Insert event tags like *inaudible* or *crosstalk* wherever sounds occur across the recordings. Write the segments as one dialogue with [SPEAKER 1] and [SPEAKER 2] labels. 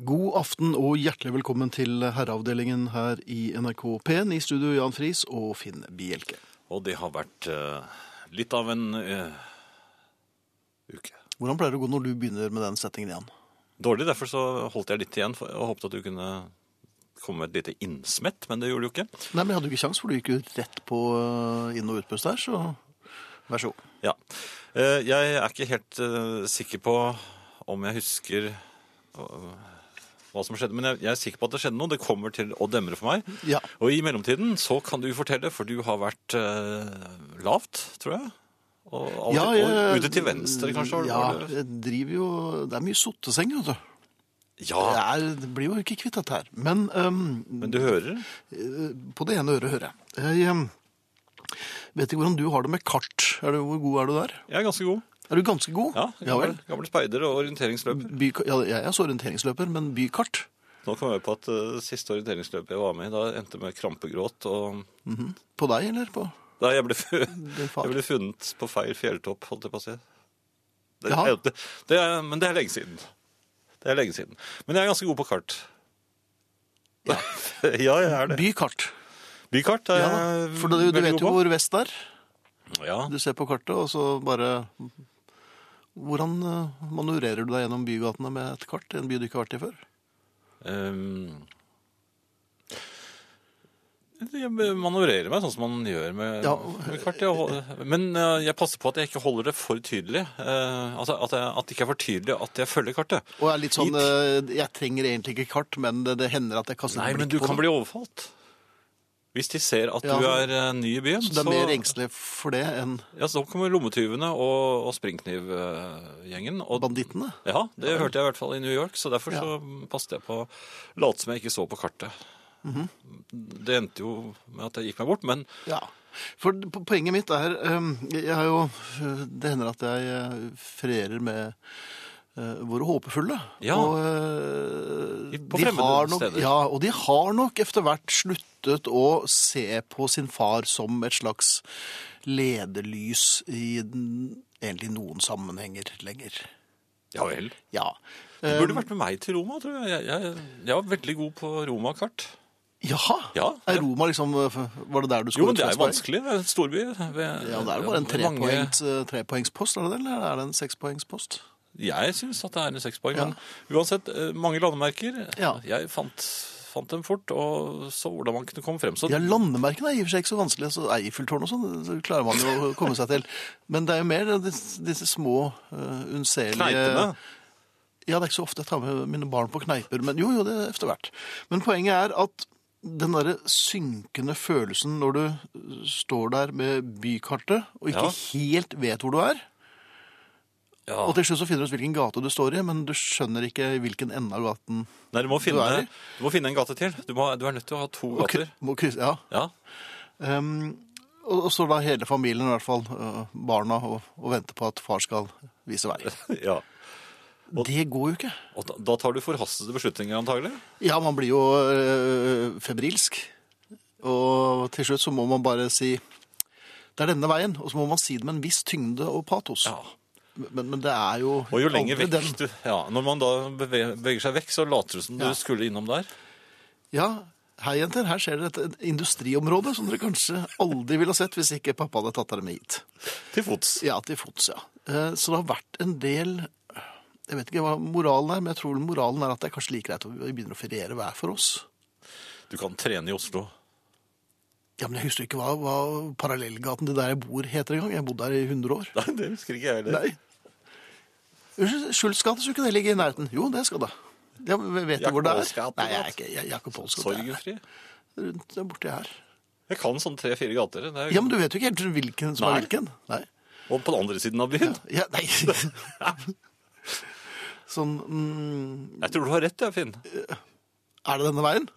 [SPEAKER 1] God aften og hjertelig velkommen til herreavdelingen her i NRK P1. I studio Jan Friis og Finn Bielke.
[SPEAKER 2] Og det har vært eh, litt av en eh, uke.
[SPEAKER 1] Hvordan pleier det å gå når du begynner med den settingen igjen?
[SPEAKER 2] Dårlig, derfor så holdt jeg litt igjen for- og håpet at du kunne komme med et lite innsmett, men det gjorde du jo ikke.
[SPEAKER 1] Nei, men jeg hadde jo ikke sjans, for du gikk jo rett på eh, inn- og utpust der, så vær så god.
[SPEAKER 2] Ja. Eh, Jeg er ikke helt eh, sikker på om jeg husker eh, hva som skjedde, men jeg- jeg er sikker på at det skjedde noe. Det kommer til å demre for meg.
[SPEAKER 1] Ja.
[SPEAKER 2] Og i mellomtiden så kan du fortelle, for du har vært eh, lavt, tror jeg. Og, alltid,
[SPEAKER 1] Ja, jeg-
[SPEAKER 2] og ute til venstre, kanskje? har du-
[SPEAKER 1] Ja,
[SPEAKER 2] har du-
[SPEAKER 1] jeg driver jo Det er mye sotteseng, vet du. Det,
[SPEAKER 2] ja.
[SPEAKER 1] er, det blir jo ikke kvitt dette her. Men ehm,
[SPEAKER 2] Men du hører?
[SPEAKER 1] eh, på det ene øret hører jeg. Jeg ehm, vet ikke hvordan du har det med kart. Er du, hvor god er du der?
[SPEAKER 2] Jeg er ganske god.
[SPEAKER 1] Er du ganske god?
[SPEAKER 2] Ja,
[SPEAKER 1] ja vel.
[SPEAKER 2] gammel, gammel speider og orienteringsløper.
[SPEAKER 1] By, ja, jeg er så orienteringsløper, men bykart?
[SPEAKER 2] Nå kom jeg på at eh, siste orienteringsløpet jeg var med i, da endte med krampegråt og
[SPEAKER 1] På deg, eller? På?
[SPEAKER 2] Da jeg ble, fu-
[SPEAKER 1] far.
[SPEAKER 2] jeg ble funnet på feil fjelltopp, holdt jeg på å si. Det,
[SPEAKER 1] Jaha.
[SPEAKER 2] det, det er, men det er lenge siden. Det er lenge siden. Men jeg er ganske god på kart. *laughs* Ja, jeg er det.
[SPEAKER 1] Bykart.
[SPEAKER 2] Bykart er
[SPEAKER 1] Ja,
[SPEAKER 2] jeg
[SPEAKER 1] da. for du, du
[SPEAKER 2] Eh, veldig
[SPEAKER 1] vet jo
[SPEAKER 2] god på.
[SPEAKER 1] hvor vest er.
[SPEAKER 2] Ja,
[SPEAKER 1] Du ser på kartet, og så bare Hvordan eh, manøvrerer du deg gjennom bygatene med et kart i en by du ikke har vært i før?
[SPEAKER 2] ehm, jeg manøvrerer meg sånn som man gjør med,
[SPEAKER 1] Ja.
[SPEAKER 2] med kart. Jeg, hol- men eh, jeg passer på at jeg ikke holder det for tydelig. eh, altså at, jeg, at det ikke er for tydelig at jeg følger kartet.
[SPEAKER 1] Og er litt sånn
[SPEAKER 2] I-
[SPEAKER 1] eh, Jeg trenger egentlig ikke kart, men det, det hender at jeg kaster
[SPEAKER 2] Nei,
[SPEAKER 1] et
[SPEAKER 2] men
[SPEAKER 1] blikk
[SPEAKER 2] du
[SPEAKER 1] på
[SPEAKER 2] kan
[SPEAKER 1] det.
[SPEAKER 2] bli overfalt. Hvis de ser at
[SPEAKER 1] Ja.
[SPEAKER 2] du er eh, ny i byen,
[SPEAKER 1] Så det er mer engstelig for det enn
[SPEAKER 2] Ja, så kommer lommetyvene og, og springknivgjengen. Og,
[SPEAKER 1] bandittene.
[SPEAKER 2] ja, det hørte jeg i hvert fall i New York, så derfor så passet jeg på å late som jeg ikke så på kartet. Det endte jo med at jeg gikk meg bort, men
[SPEAKER 1] Ja. For po- poenget mitt er ehm, Jeg har jo øh, Det hender at jeg eh, ferierer med eh, våre håpefulle.
[SPEAKER 2] Ja.
[SPEAKER 1] Og, eh,
[SPEAKER 2] I- på
[SPEAKER 1] de
[SPEAKER 2] fremmede
[SPEAKER 1] har nok,
[SPEAKER 2] steder.
[SPEAKER 1] Ja, og de har nok etter hvert sluttet å se på sin far som et slags lederlys i den, egentlig noen sammenhenger lenger.
[SPEAKER 2] ja vel.
[SPEAKER 1] Ja. Eh,
[SPEAKER 2] Du burde vært med meg til Roma, tror jeg. Jeg, jeg, jeg var veldig god på Roma-kart.
[SPEAKER 1] Jaha?
[SPEAKER 2] Ja,
[SPEAKER 1] Er
[SPEAKER 2] ja.
[SPEAKER 1] Roma liksom Var det der du skulle
[SPEAKER 2] Jo, men det er
[SPEAKER 1] flest poeng?
[SPEAKER 2] vanskelig. Det er en storby. ved-
[SPEAKER 1] Ja, det er jo bare en
[SPEAKER 2] ved mange-
[SPEAKER 1] trepoengs, øh, trepoengspost, er det det? Eller er det en sekspoengspost?
[SPEAKER 2] Jeg syns at det er en sekspoeng,
[SPEAKER 1] Ja.
[SPEAKER 2] men uansett, eh, mange landemerker.
[SPEAKER 1] Ja.
[SPEAKER 2] Jeg fant, fant dem fort, og så hvordan man kunne komme frem. Så
[SPEAKER 1] Ja, landemerkene er i og for seg ikke så vanskelig. Altså, Eiffeltårnet og sånn så klarer man jo å komme seg til. Men det er jo mer disse, disse små, uh, unnselige
[SPEAKER 2] kneipene
[SPEAKER 1] Ja, det er ikke så ofte jeg tar med mine barn på kneiper, men jo, jo, det er etter hvert. Men poenget er at den derre synkende følelsen når du øh, står der med bykartet og ikke
[SPEAKER 2] Ja.
[SPEAKER 1] helt vet hvor du er
[SPEAKER 2] ja.
[SPEAKER 1] Og til slutt så finner du ut hvilken gate du står i, men du skjønner ikke hvilken ende av gaten
[SPEAKER 2] Nei, du må,
[SPEAKER 1] er
[SPEAKER 2] finne,
[SPEAKER 1] i.
[SPEAKER 2] du må finne en gate til. Du, må, du er nødt til å ha to
[SPEAKER 1] Og kry-
[SPEAKER 2] gater.
[SPEAKER 1] må krysse. Ja.
[SPEAKER 2] Ja.
[SPEAKER 1] Um, og og så da hele familien, i hvert fall øh, barna, og, og venter på at far skal vise vei.
[SPEAKER 2] *laughs* ja.
[SPEAKER 1] Det går jo ikke.
[SPEAKER 2] Og da, da tar du forhastede beslutninger, antagelig.
[SPEAKER 1] Ja, man blir jo øh, febrilsk. Og til slutt så må man bare si det er denne veien, og så må man si det med en viss tyngde og patos.
[SPEAKER 2] Ja.
[SPEAKER 1] Men, men det er jo
[SPEAKER 2] Og jo lenger
[SPEAKER 1] aldri
[SPEAKER 2] vekk du ja, Når man da beveger, beveger seg vekk, så later du som
[SPEAKER 1] Ja.
[SPEAKER 2] du skulle innom der.
[SPEAKER 1] Ja, hei jenter, her skjer det et- et industriområde som dere kanskje aldri ville ha sett hvis ikke pappa hadde tatt dere med hit.
[SPEAKER 2] Til fots.
[SPEAKER 1] Ja, til fots, ja. Eh, Så det har vært en del Jeg vet ikke hva moralen er, men jeg tror moralen er at det er kanskje like greit å begynne å feriere hver for oss.
[SPEAKER 2] Du kan trene i Oslo. *laughs*
[SPEAKER 1] Ja, men jeg husker ikke hva, hva parallellgaten til der jeg bor heter engang. Jeg har bodd der i 100 år.
[SPEAKER 2] Nei, det husker ikke jeg heller.
[SPEAKER 1] Nei. Unnskyld, Schultz gate skulle ikke det ligge i nærheten? Jo, det skal det. Ja, men vet du
[SPEAKER 2] Jakob
[SPEAKER 1] hvor det
[SPEAKER 2] Pauls
[SPEAKER 1] er?
[SPEAKER 2] gate,
[SPEAKER 1] Nei, jeg
[SPEAKER 2] da.
[SPEAKER 1] er ikke jeg, jeg er ikke Pauls gate. Jeg
[SPEAKER 2] Sorgenfri.
[SPEAKER 1] er Rundt der borti her.
[SPEAKER 2] Jeg kan sånn tre-fire gater. Det er,
[SPEAKER 1] Ja, men du vet jo ikke helt hvilken som
[SPEAKER 2] Nei.
[SPEAKER 1] er hvilken. Nei.
[SPEAKER 2] Og på den andre siden av byen.
[SPEAKER 1] Ja,
[SPEAKER 2] *laughs*
[SPEAKER 1] nei. Sånn mm,
[SPEAKER 2] Jeg tror du har rett, jeg, Finn.
[SPEAKER 1] Er det denne veien?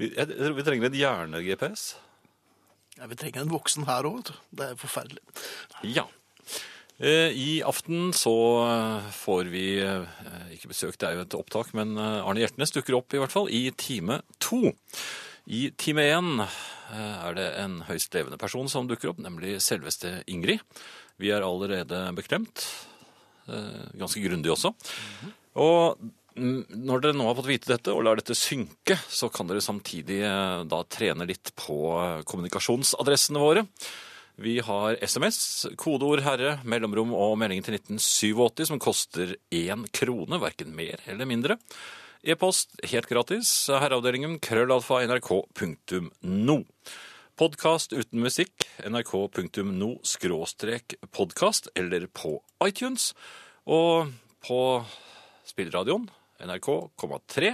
[SPEAKER 2] Vi, jeg, tror vi trenger en hjerne-GPS.
[SPEAKER 1] Ja, vi trenger en voksen her òg, vet du. Det er forferdelig.
[SPEAKER 2] Ja. Eh, I aften så eh, får vi eh, ikke besøk, det er jo et opptak, men eh, Arne Hjertnes dukker opp i hvert fall i time to. I time én eh, er det en høyst levende person som dukker opp, nemlig selveste Ingrid. Vi er allerede beklemt. eh, Ganske grundig også. Og Mm, Når dere nå har fått vite dette og lar dette synke, så kan dere samtidig eh, da trene litt på eh, kommunikasjonsadressene våre. Vi har SMS, kodeord 'herre', mellomrom og meldingen til 1987 som koster én krone, verken mer eller mindre. E-post helt gratis, herreavdelingen krøllalfa nrk.no. Podkast uten musikk, nrk.no skråstrek podkast, eller på iTunes. Og på spillradioen, NRK,3,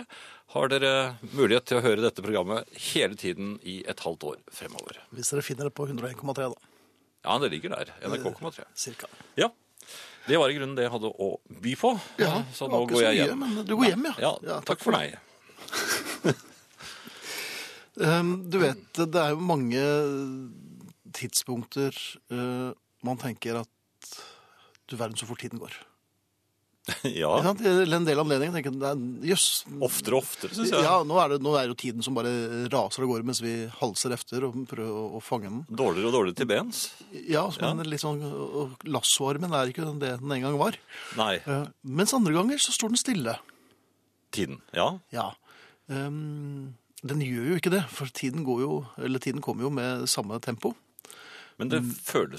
[SPEAKER 2] har dere mulighet til å høre dette programmet hele tiden i et halvt år fremover.
[SPEAKER 1] Hvis dere finner det på 101,3, da.
[SPEAKER 2] Ja, det ligger der. NRK,3.
[SPEAKER 1] Cirka.
[SPEAKER 2] Ja. Det var i grunnen det jeg hadde å by på.
[SPEAKER 1] Ja,
[SPEAKER 2] så
[SPEAKER 1] det
[SPEAKER 2] nå
[SPEAKER 1] var ikke
[SPEAKER 2] går
[SPEAKER 1] så
[SPEAKER 2] jeg
[SPEAKER 1] mye,
[SPEAKER 2] hjem.
[SPEAKER 1] men du går hjem, ja.
[SPEAKER 2] ja.
[SPEAKER 1] Ja,
[SPEAKER 2] takk, for meg.
[SPEAKER 1] Ehm, Du vet, det er jo mange eh, tidspunkter eh, man tenker at du verden så fort tiden går. Ikke
[SPEAKER 2] ja.
[SPEAKER 1] sant? Til en del anledninger tenker jeg nei, jøss.
[SPEAKER 2] Oftere og oftere, syns jeg.
[SPEAKER 1] Ja, nå er, det, nå er jo tiden som bare raser av gårde mens vi halser efter og prøver å, å fange den.
[SPEAKER 2] Dårligere og dårligere til bens.
[SPEAKER 1] Ja, som en litt sånn, og Lassoarmen er ikke det den en gang var.
[SPEAKER 2] Nei.
[SPEAKER 1] Eh, Mens andre ganger så står den stille.
[SPEAKER 2] Tiden. Ja.
[SPEAKER 1] Ja. Ehm, den gjør jo ikke det, for tiden, går jo, eller tiden kommer jo med samme tempo.
[SPEAKER 2] Men det føles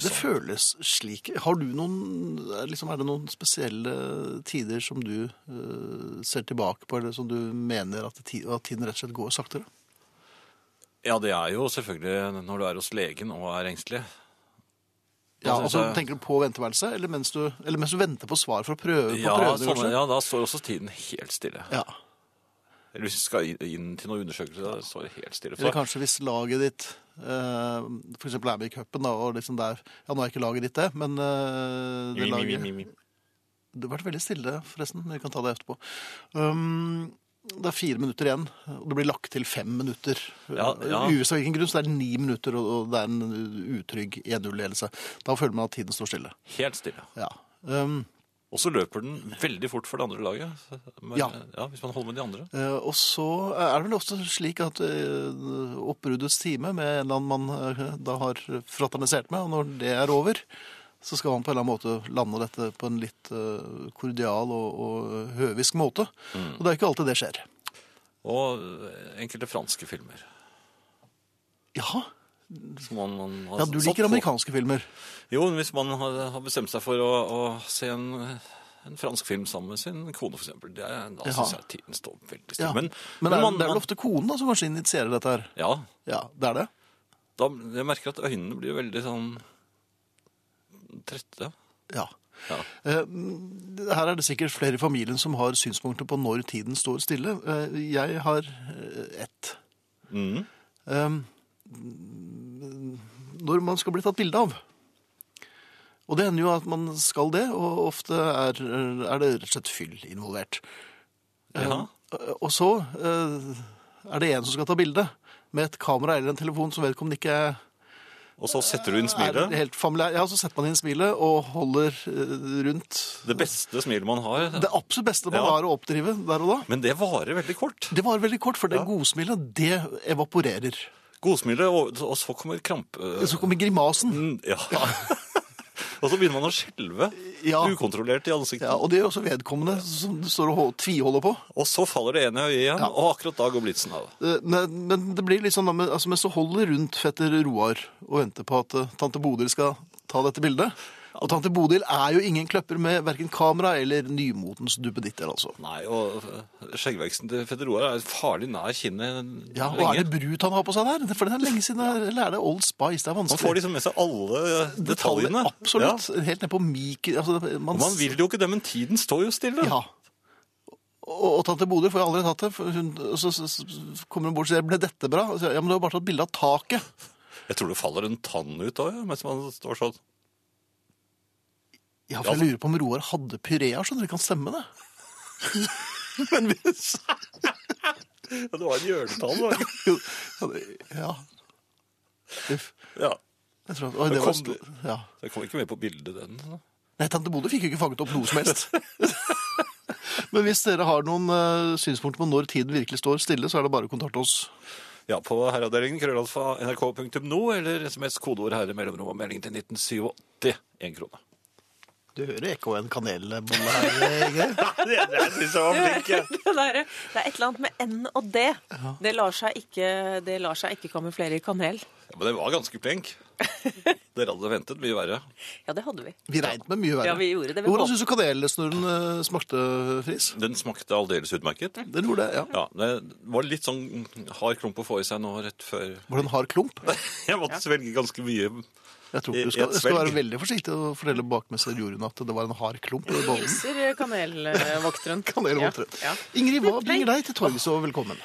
[SPEAKER 1] Mm. Det
[SPEAKER 2] sånn.
[SPEAKER 1] føles slik. Har du noen, er liksom, er det noen spesielle tider som du eh, ser tilbake på, eller som du mener at, ti- at tiden rett og slett går saktere?
[SPEAKER 2] Ja, det er jo selvfølgelig når du er hos legen og er engstelig.
[SPEAKER 1] Ja,
[SPEAKER 2] synes
[SPEAKER 1] altså
[SPEAKER 2] jeg-
[SPEAKER 1] Tenker du på venteværelset, eller mens du, eller mens du venter på svar fra prøve? på
[SPEAKER 2] Ja,
[SPEAKER 1] prøvene,
[SPEAKER 2] sånn,
[SPEAKER 1] kanskje?
[SPEAKER 2] ja, da står også tiden helt stille.
[SPEAKER 1] ja.
[SPEAKER 2] Eller hvis du skal inn- inn til noen undersøkelser, da står det helt stille.
[SPEAKER 1] Eller
[SPEAKER 2] For,
[SPEAKER 1] kanskje hvis laget ditt eh, For eksempel er med i cupen, da, og liksom der Ja, nå er ikke laget ditt det, men eh, det
[SPEAKER 2] mi, mi, mi,
[SPEAKER 1] laget
[SPEAKER 2] mi, mi.
[SPEAKER 1] Det har vært veldig stille, forresten. Vi kan ta det etterpå. Um, det er fire minutter igjen, og det blir lagt til fem minutter.
[SPEAKER 2] Ja, ja.
[SPEAKER 1] Uvisst av hvilken grunn, så det er ni minutter, og- og det er en utrygg 1-0-ledelse. Da føler man at tiden står stille.
[SPEAKER 2] Helt stille.
[SPEAKER 1] Ja. Um,
[SPEAKER 2] Og så løper den veldig fort for det andre laget. så- Men,
[SPEAKER 1] Ja.
[SPEAKER 2] ja, hvis man holder med de andre.
[SPEAKER 1] eh, og så er det vel også slik at eh, oppbruddets time med en eller annen man eh, da har fraternisert med, og når det er over, så skal man på en eller annen måte lande dette på en litt eh, kordial og, og høvisk måte.
[SPEAKER 2] Mm.
[SPEAKER 1] Og det er ikke alltid det skjer.
[SPEAKER 2] Og eh, enkelte franske filmer.
[SPEAKER 1] Ja,
[SPEAKER 2] Som man, man har
[SPEAKER 1] Ja, du
[SPEAKER 2] Altså, satt
[SPEAKER 1] liker
[SPEAKER 2] på.
[SPEAKER 1] amerikanske filmer.
[SPEAKER 2] Jo, men hvis man har, har bestemt seg for å, å se en, en fransk film sammen med sin kone, for eksempel, det, er- da
[SPEAKER 1] Ja.
[SPEAKER 2] synes jeg tiden står veldig stille.
[SPEAKER 1] Ja.
[SPEAKER 2] Men,
[SPEAKER 1] Men er,
[SPEAKER 2] man-
[SPEAKER 1] det er vel
[SPEAKER 2] man-
[SPEAKER 1] ofte konen da, som kanskje initierer dette her?
[SPEAKER 2] Ja,
[SPEAKER 1] Ja, det er det.
[SPEAKER 2] da, jeg merker at øynene blir veldig sånn trette.
[SPEAKER 1] Ja.
[SPEAKER 2] Ja.
[SPEAKER 1] Eh, Her er det sikkert flere i familien som har synspunkter på når tiden står stille. Eh, Jeg har eh, ett.
[SPEAKER 2] Mm.
[SPEAKER 1] Eh, Når man skal bli tatt bilde av. Og det hender jo at man skal det, og ofte er, er det rett og slett fyll involvert.
[SPEAKER 2] Ja.
[SPEAKER 1] Eh, Og så eh, er det en som skal ta bilde med et kamera eller en telefon som vedkommende ikke
[SPEAKER 2] Og så setter du inn
[SPEAKER 1] er
[SPEAKER 2] smilet.
[SPEAKER 1] helt familiær. Ja, så setter man inn smilet og holder eh, rundt.
[SPEAKER 2] Det beste smilet man har.
[SPEAKER 1] Det absolutt beste man
[SPEAKER 2] Ja.
[SPEAKER 1] har å oppdrive der og da.
[SPEAKER 2] Men det varer veldig kort.
[SPEAKER 1] Det var veldig kort, for det godsmilet, det evaporerer.
[SPEAKER 2] Godsmilet, og, og så kommer kramp...
[SPEAKER 1] Så kommer grimasen.
[SPEAKER 2] Mm, Ja. *laughs* og så begynner man å skjelve
[SPEAKER 1] Ja.
[SPEAKER 2] ukontrollert i ansiktet.
[SPEAKER 1] Ja, og det er også vedkommende som du står og hå- tviholder på.
[SPEAKER 2] Og så faller det ene øyet igjen, og akkurat da går blitsen av.
[SPEAKER 1] Eh, Men, men det blir litt sånn, da, men- altså mens du holder rundt fetter Roar og venter på at eh, tante Bodil skal ta dette bildet. Og tante Bodil er jo ingen kløpper med hverken kamera eller nymotens duppeditter, altså.
[SPEAKER 2] Nei, og øh, skjeggveksten til Fedder Roar er farlig nær kinnet
[SPEAKER 1] Ja, og er
[SPEAKER 2] lenge.
[SPEAKER 1] det brut han har på seg der? For det er lenge siden, eller er det Old Spice? Det er
[SPEAKER 2] Man
[SPEAKER 1] vanskelig.
[SPEAKER 2] får liksom med seg alle øh, detaljene.
[SPEAKER 1] Absolutt. Helt ned på mikro... Altså, det-
[SPEAKER 2] Ja.
[SPEAKER 1] man,
[SPEAKER 2] Man vil jo ikke det, men tiden står jo stille.
[SPEAKER 1] Ja. Og, og tante Bodil får jo aldri tatt det. for Hun, og så, så, så kommer hun bort og sier 'ble dette bra?' Og så, sier jeg, ja, men du har bare tatt bilde av taket.
[SPEAKER 2] Jeg tror det faller en tann ut da, ja, mens man står sånn.
[SPEAKER 1] Ja,
[SPEAKER 2] altså-
[SPEAKER 1] for jeg lurer på om Roar hadde pyrea, skjønner du. Kan stemme det? men hvis
[SPEAKER 2] Ja, det var en hjørnetann. da.
[SPEAKER 1] Ja. Uff.
[SPEAKER 2] *laughs* Ja.
[SPEAKER 1] Jeg tror, at- oi, det
[SPEAKER 2] Da
[SPEAKER 1] var,
[SPEAKER 2] kom du-
[SPEAKER 1] ja.
[SPEAKER 2] Jeg kom ikke med på bildet den. da.
[SPEAKER 1] Nei, tante Bodil fikk jo ikke fanget opp noe som helst. *laughs* Men hvis dere har noen eh, synspunkter på når tiden virkelig står stille, så er det bare å kontakte oss.
[SPEAKER 2] Ja, på herreavdelingen krøllalfa nrk.no, eller sms kodeord herre mellomrom og melding til 1987. Én krone.
[SPEAKER 1] Du hører ikke en kanelbolle her, Ingrid.
[SPEAKER 3] Det jeg synes
[SPEAKER 2] sånn
[SPEAKER 3] jeg var flink. jeg.
[SPEAKER 4] *laughs* Det, der, det er et eller annet med N og D. Det, lar seg ikke, det lar seg ikke kamuflere i kanel.
[SPEAKER 2] Ja, men den var ganske plenk. Dere hadde ventet mye verre.
[SPEAKER 4] Ja, det hadde vi.
[SPEAKER 1] Vi regnet med mye verre.
[SPEAKER 4] Ja, vi gjorde det. Vi
[SPEAKER 1] Hvordan
[SPEAKER 4] håpet-
[SPEAKER 1] syns du kanelsnurren eh, smakte, Friis?
[SPEAKER 2] Den smakte aldeles utmerket.
[SPEAKER 1] Den gjorde det, ja.
[SPEAKER 2] Ja, Det var litt sånn hard klump å få i seg nå rett før
[SPEAKER 1] Var det en hard klump?
[SPEAKER 2] *laughs* Jeg måtte svelge ganske *laughs* mye.
[SPEAKER 1] Jeg tror
[SPEAKER 2] I-
[SPEAKER 1] du
[SPEAKER 2] i
[SPEAKER 1] skal,
[SPEAKER 2] et
[SPEAKER 1] skal være
[SPEAKER 2] svelg.
[SPEAKER 1] veldig forsiktig og fortelle bakmester Jorunn at det var en hard klump i bollen.
[SPEAKER 4] Hilser eh, kanelvokteren.
[SPEAKER 1] *laughs* Kanelvokteren.
[SPEAKER 4] *laughs* Ja, ja.
[SPEAKER 1] Ingrid, hva bringer deg til torgs og velkommen?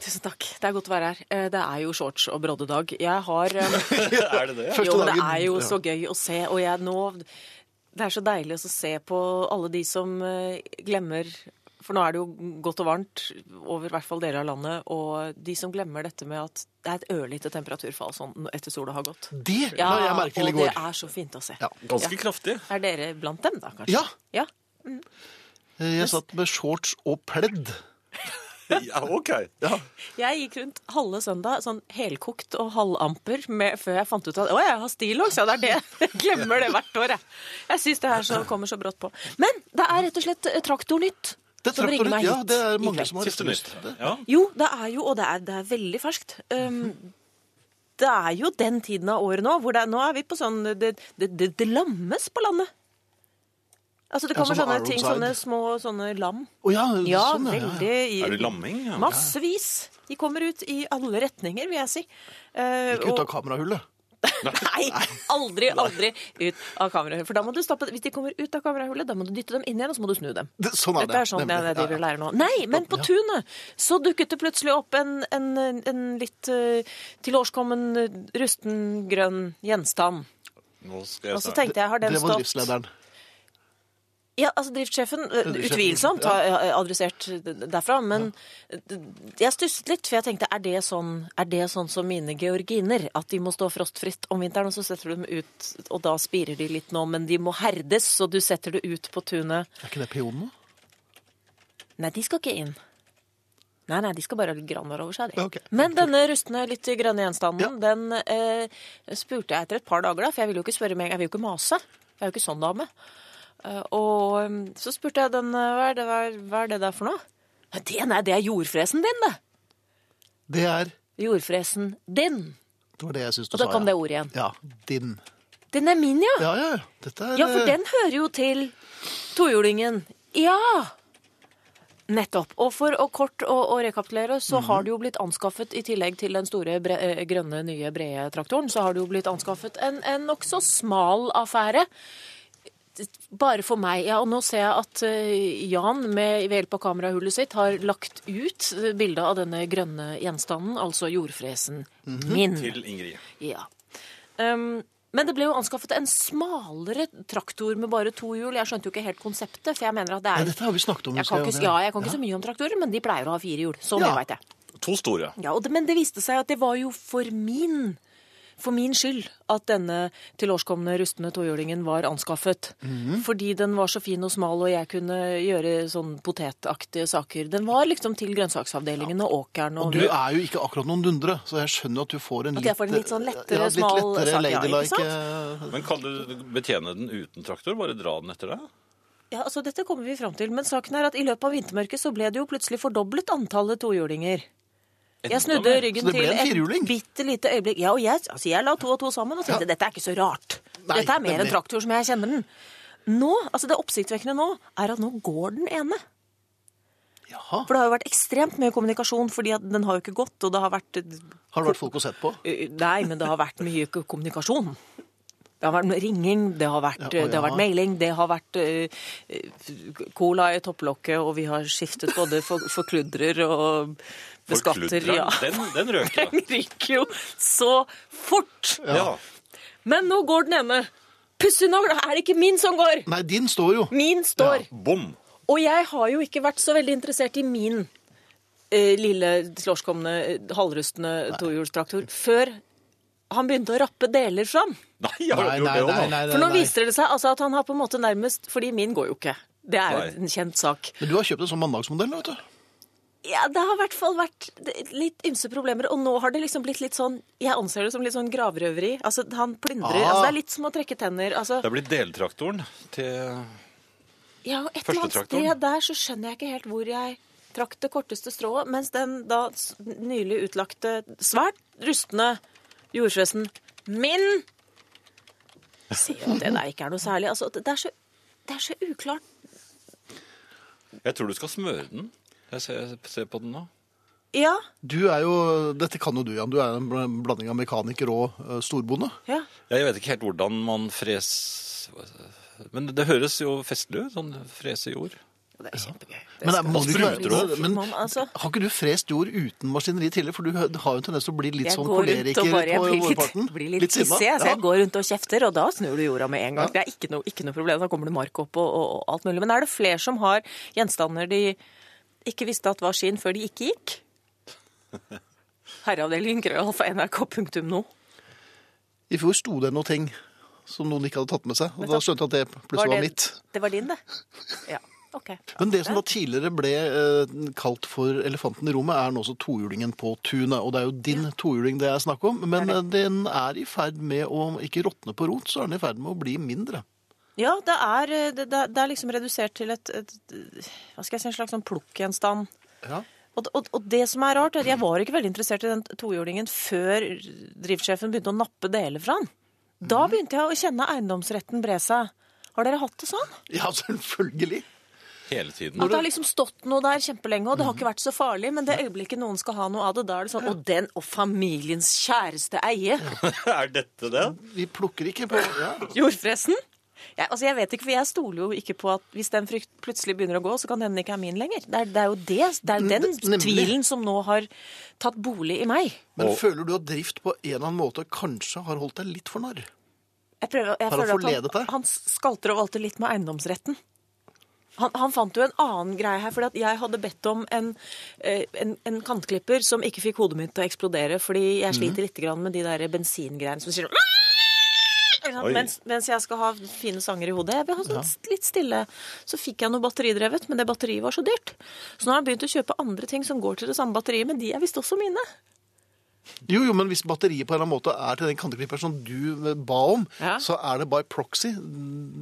[SPEAKER 4] Tusen takk. Det er godt å være her. Eh, Det er jo shorts og broddedag. Jeg har eh,
[SPEAKER 2] Er det det?
[SPEAKER 1] *laughs* Første
[SPEAKER 4] Jo, det
[SPEAKER 1] dagen-
[SPEAKER 4] er jo
[SPEAKER 1] ja.
[SPEAKER 4] så gøy å se, og jeg nå Det er så deilig å se på alle de som eh, glemmer For nå er det jo godt og varmt over i hvert fall deler av landet, og de som glemmer dette med at det er et ørlite temperaturfall sånn etter sola har gått.
[SPEAKER 1] Det la jeg merke til i
[SPEAKER 4] og det
[SPEAKER 1] går.
[SPEAKER 4] er så fint å se.
[SPEAKER 1] Ja.
[SPEAKER 2] Ganske kraftig.
[SPEAKER 4] Er dere blant dem, da, kanskje?
[SPEAKER 1] Ja.
[SPEAKER 4] ja.
[SPEAKER 1] Jeg satt med shorts og pledd.
[SPEAKER 2] Ja, ok. Ja.
[SPEAKER 4] Jeg gikk rundt halve søndag sånn helkokt og halvamper med, før jeg fant ut at å, jeg har stillongs. Ja, det er det. Jeg glemmer det hvert år, jeg. Jeg syns det her så kommer så brått på. Men det er rett og slett eh, Traktornytt
[SPEAKER 1] Det
[SPEAKER 4] som bringer meg hit.
[SPEAKER 1] Ja, det er
[SPEAKER 4] i
[SPEAKER 1] mange
[SPEAKER 4] kveld.
[SPEAKER 1] som har
[SPEAKER 2] Siste nytt.
[SPEAKER 1] etterlyst det.
[SPEAKER 2] Ja.
[SPEAKER 4] Jo, det er jo, og det er, det er veldig ferskt. Um, det er jo den tiden av året nå hvor det, er- nå er vi på sånn det, det, det, det lammes på landet. Altså Det
[SPEAKER 1] Ja,
[SPEAKER 4] kommer
[SPEAKER 1] sånn
[SPEAKER 4] sånne ting,
[SPEAKER 1] Aronside.
[SPEAKER 4] sånne små sånne lam.
[SPEAKER 1] Å ja,
[SPEAKER 4] Ja,
[SPEAKER 1] sånn, ja, ja.
[SPEAKER 4] veldig i-
[SPEAKER 2] Er det lamming? Ja.
[SPEAKER 4] Massevis. De kommer ut i alle retninger, vil jeg si. Eh,
[SPEAKER 1] Ikke ut av
[SPEAKER 4] og-
[SPEAKER 1] kamerahullet.
[SPEAKER 4] *laughs* Nei, aldri, aldri ut av kamerahullet. For da må du stoppe Hvis de kommer ut av kamerahullet, da må du dytte dem inn igjen, og så må du snu dem.
[SPEAKER 1] Det, *laughs* sånn er det.
[SPEAKER 4] Dette er sånn
[SPEAKER 1] nemlig.
[SPEAKER 4] jeg driver og
[SPEAKER 1] Ja, ja.
[SPEAKER 4] lærer nå. Nei, men på tunet så dukket det plutselig opp en, en, en litt eh, tilårskommen eh, rusten grønn gjenstand.
[SPEAKER 2] Nå skal
[SPEAKER 4] Og
[SPEAKER 2] jeg
[SPEAKER 4] så
[SPEAKER 2] snart.
[SPEAKER 4] tenkte jeg, har den
[SPEAKER 1] Det var
[SPEAKER 4] stått
[SPEAKER 1] driftslederen.
[SPEAKER 4] Ja, altså driftssjefen, eh,
[SPEAKER 1] Driftssjefen,
[SPEAKER 4] utvilsomt,
[SPEAKER 1] ja.
[SPEAKER 4] har eh, adressert d- derfra, men d- jeg stusset litt, for jeg tenkte, er det, sånn, er det sånn som mine georginer, at de må stå frostfritt om vinteren, og så setter du dem ut, og da spirer de litt nå, men de må herdes, så du setter det ut på tunet.
[SPEAKER 1] Er ikke det peonen nå?
[SPEAKER 4] Nei, de skal ikke inn. Nei, nei, de skal bare ha litt granvær over seg. de.
[SPEAKER 1] Ja, ok.
[SPEAKER 4] Men denne rustne, litt grønne gjenstanden,
[SPEAKER 1] Ja.
[SPEAKER 4] den eh, spurte jeg etter et par dager, da, for jeg ville jo ikke spørre meg, jeg vil jo ikke mase. Jeg er jo ikke sånn dame. Eh, og um, så spurte jeg den, eh, hva er det, hva er, hva er det der for noe? «Nei, Det, nei, det er jordfresen din, det.
[SPEAKER 1] Det er
[SPEAKER 4] Jordfresen din.
[SPEAKER 1] Det var det jeg syns du
[SPEAKER 4] Og da
[SPEAKER 1] sa.
[SPEAKER 4] kom
[SPEAKER 1] ja.
[SPEAKER 4] det ordet igjen.
[SPEAKER 1] Ja. Din.
[SPEAKER 4] Den er min, ja.
[SPEAKER 1] Ja, ja. ja. Dette er
[SPEAKER 4] Ja, for
[SPEAKER 1] eh,
[SPEAKER 4] den hører jo til tohjulingen. Ja! Nettopp. Og for å kort å, å rekapitulere, så har det jo blitt anskaffet, i tillegg til den store bre eh, grønne, nye, brede traktoren, så har det jo blitt anskaffet en, en nokså smal affære. Bare for meg. Ja, og nå ser jeg at eh, Jan med, ved hjelp av kamerahullet sitt har lagt ut eh, bildet av denne grønne gjenstanden, altså jordfresen min.
[SPEAKER 2] Til Ingrid.
[SPEAKER 4] Ja. Um, men det ble jo anskaffet en smalere traktor med bare to hjul. Jeg skjønte jo ikke helt konseptet, for jeg mener at det
[SPEAKER 1] Nei,
[SPEAKER 4] er
[SPEAKER 1] dette har vi snakket om.
[SPEAKER 4] jeg
[SPEAKER 1] husker
[SPEAKER 4] kan ikke,
[SPEAKER 1] ja.
[SPEAKER 4] ja, jeg kan ikke så mye om traktorer, men de pleier å ha fire hjul. Så mye
[SPEAKER 1] Ja.
[SPEAKER 4] vet jeg.
[SPEAKER 2] To store.
[SPEAKER 4] Ja, og det, Men det viste seg at det var jo for min, for min skyld at denne tilårskomne rustne tohjulingen var anskaffet.
[SPEAKER 1] Mhm.
[SPEAKER 4] Fordi den var så fin og smal, og jeg kunne gjøre sånn potetaktige saker. Den var liksom til grønnsaksavdelingen og åkeren. Og,
[SPEAKER 1] Du er jo ikke akkurat noen dundre, så jeg skjønner at du får en
[SPEAKER 4] At jeg får en litt sånn lettere,
[SPEAKER 1] ja, litt
[SPEAKER 4] smal
[SPEAKER 1] lettere
[SPEAKER 4] sak, ja, ikke
[SPEAKER 1] ladylike eh,
[SPEAKER 2] Men kan du betjene den uten traktor? Bare dra den etter deg?
[SPEAKER 4] Ja, altså Dette kommer vi fram til, men saken er at i løpet av vintermørket så ble det jo plutselig fordoblet antallet tohjulinger. Jeg snudde
[SPEAKER 2] mer.
[SPEAKER 4] ryggen
[SPEAKER 1] Så det ble
[SPEAKER 4] til
[SPEAKER 1] en firhjuling?
[SPEAKER 4] et bitte lite øyeblikk. Ja, og jeg, altså jeg la to og to sammen og tenkte dette er ikke så rart.
[SPEAKER 1] Nei,
[SPEAKER 4] dette er mer
[SPEAKER 1] nemlig.
[SPEAKER 4] en traktor som jeg kjenner den. Nå, altså Det oppsiktsvekkende nå er at nå går den ene.
[SPEAKER 1] Jaha.
[SPEAKER 4] For det har jo vært ekstremt mye kommunikasjon, fordi at den har jo ikke gått. og det har vært...
[SPEAKER 1] Har det vært folk å sett på?
[SPEAKER 4] Eh, Nei, men det har vært mye k- kommunikasjon. Det har vært ringing, det har vært,
[SPEAKER 1] Ja, å,
[SPEAKER 4] det har
[SPEAKER 1] ja.
[SPEAKER 4] vært mailing, det har vært eh, eh, cola i topplokket, og vi har skiftet både for, forkludrer og beskatter.
[SPEAKER 2] Forkludrer
[SPEAKER 4] Ja.
[SPEAKER 2] Den, den
[SPEAKER 4] *laughs*
[SPEAKER 2] røker.
[SPEAKER 4] Den ryker jo så fort!
[SPEAKER 2] Ja.
[SPEAKER 4] Men nå går den ene. Pussig nok er det ikke min som går!
[SPEAKER 1] Nei, din står jo.
[SPEAKER 2] Mm,
[SPEAKER 4] Min står.
[SPEAKER 2] Bom!
[SPEAKER 4] Og jeg har jo ikke vært så veldig interessert i min eh, lille, slårskomne, eh, halvrustne tohjulstraktor før han begynte å rappe deler fra den.
[SPEAKER 2] Nei, jeg har
[SPEAKER 1] Nei,
[SPEAKER 2] jo
[SPEAKER 1] nei,
[SPEAKER 2] det òg,
[SPEAKER 1] nei,
[SPEAKER 2] da.
[SPEAKER 1] nei, nei,
[SPEAKER 4] For nå
[SPEAKER 1] nei.
[SPEAKER 4] viser det seg altså at han har på en måte nærmest Fordi min går jo ikke. Det er jo
[SPEAKER 2] Nei.
[SPEAKER 4] en kjent sak.
[SPEAKER 1] Men du har kjøpt en sånn mandagsmodell, vet du.
[SPEAKER 4] Ja, det har i hvert fall vært litt ymse problemer, og nå har det liksom blitt litt sånn Jeg anser det som litt sånn gravrøveri. Altså, han plyndrer
[SPEAKER 1] Ah.
[SPEAKER 4] altså, Det er litt som å trekke tenner. Altså,
[SPEAKER 2] Det er blitt deltraktoren til
[SPEAKER 4] ja, og et eller annet
[SPEAKER 2] Førstetraktoren.
[SPEAKER 4] sted der så skjønner jeg ikke helt hvor jeg trakk det korteste strået, mens den da s- nylig utlagte, svært rustne jordfresen min Sier jo at det der ikke er noe særlig. Altså, det er så, det er så uklart.
[SPEAKER 2] Jeg tror du skal smøre den. Jeg ser, ser på den nå.
[SPEAKER 4] Ja.
[SPEAKER 1] Du er jo, dette kan jo du, Jan. Du er en bl- blanding av mekaniker og eh, storbonde.
[SPEAKER 4] ja.
[SPEAKER 2] Jeg vet ikke helt hvordan man fres... Men det høres jo festlig ut, sånn frese jord.
[SPEAKER 4] Det er kjempegøy.
[SPEAKER 1] Men,
[SPEAKER 4] Det
[SPEAKER 1] det
[SPEAKER 4] skal-
[SPEAKER 1] må du ikke
[SPEAKER 2] spruter opp.
[SPEAKER 1] være, sånn, men
[SPEAKER 4] Man, altså,
[SPEAKER 1] har ikke du frest jord uten maskineri tidligere? For du hø- har jo en tendens til å bli litt
[SPEAKER 4] Jeg
[SPEAKER 1] sånn
[SPEAKER 4] går rundt og
[SPEAKER 1] koleriker
[SPEAKER 4] bare, jeg
[SPEAKER 1] på
[SPEAKER 4] blir litt,
[SPEAKER 1] vårparten.
[SPEAKER 4] blir litt, hissig, altså. jeg, så jeg går rundt og kjefter, og da snur du jorda med en gang. Det er ikke noe, ikke noe problem, da kommer det mark opp og, og, og alt mulig. Men er det flere som har gjenstander de ikke visste at var sin før de ikke gikk? Herreavdelingen krøllalfa nrk.no.
[SPEAKER 1] I fjor sto det noen ting som noen ikke hadde tatt med seg. Og
[SPEAKER 4] Men
[SPEAKER 1] da
[SPEAKER 4] sant.
[SPEAKER 1] skjønte jeg at det plutselig var
[SPEAKER 4] det-
[SPEAKER 1] mitt.
[SPEAKER 4] Det var
[SPEAKER 1] *laughs*
[SPEAKER 4] din, det? Ja, ok.
[SPEAKER 1] Men det som da tidligere ble eh, kalt for elefanten i rommet, er nå også tohjulingen på tunet. Og det er jo din tohjuling det er snakk om, men eh, den er i ferd med å ikke råtne på rot, så er den i ferd med å bli mindre.
[SPEAKER 4] Ja, det er, eh, det, det er- det er liksom redusert til et, et, et hva skal jeg si, en slags sånn plukkgjenstand.
[SPEAKER 1] Ja.
[SPEAKER 4] Og, og, og det som er rart, er at jeg var ikke veldig interessert i den tohjulingen før driftssjefen begynte å nappe deler fra den. Da begynte jeg å kjenne eiendomsretten bre seg. Har dere hatt det sånn?
[SPEAKER 1] *laughs* selvfølgelig.
[SPEAKER 2] Hele tiden.
[SPEAKER 4] At det har liksom stått noe der kjempelenge, og det har ikke vært så farlig, men det øyeblikket noen skal ha noe av det, da er det sånn Og den og familiens kjæreste eie!
[SPEAKER 2] *laughs* er dette det?
[SPEAKER 1] Vi plukker ikke på ja.
[SPEAKER 4] *laughs* Jordfresen? Jeg, altså jeg vet ikke, for jeg stoler jo ikke på at hvis den frykt plutselig begynner å gå, så kan den ikke er min lenger. Det er, det er jo det, det er den
[SPEAKER 1] Nemlig.
[SPEAKER 4] tvilen som nå har tatt bolig i meg.
[SPEAKER 1] Men
[SPEAKER 2] Og-
[SPEAKER 1] føler du at drift på en eller annen måte kanskje har holdt deg litt for narr?
[SPEAKER 4] Jeg, prøver, jeg
[SPEAKER 1] Har han
[SPEAKER 4] føler at
[SPEAKER 1] forledet
[SPEAKER 4] han,
[SPEAKER 1] deg?
[SPEAKER 4] han skalter og valter litt med eiendomsretten. Han, han fant jo en annen greie her, fordi at jeg hadde bedt om en, eh, en, en kantklipper som ikke fikk hodet mitt til å eksplodere, fordi
[SPEAKER 1] Mhm.
[SPEAKER 4] jeg sliter litt grann med de der bensingreiene som sier sånn Ikke sant?
[SPEAKER 2] Oi.
[SPEAKER 4] mens, mens jeg skal ha fine sanger i hodet. Jeg vil ha sånn litt stille. Så fikk jeg noe batteridrevet, men det batteriet var så dyrt. Så nå har jeg begynt å kjøpe andre ting som går til det samme batteriet, men de er visst også mine.
[SPEAKER 1] Jo, jo, men hvis batteriet på en eller annen måte er til den kanteklipperen som du eh, ba om,
[SPEAKER 4] Ja.
[SPEAKER 1] så er det by proxy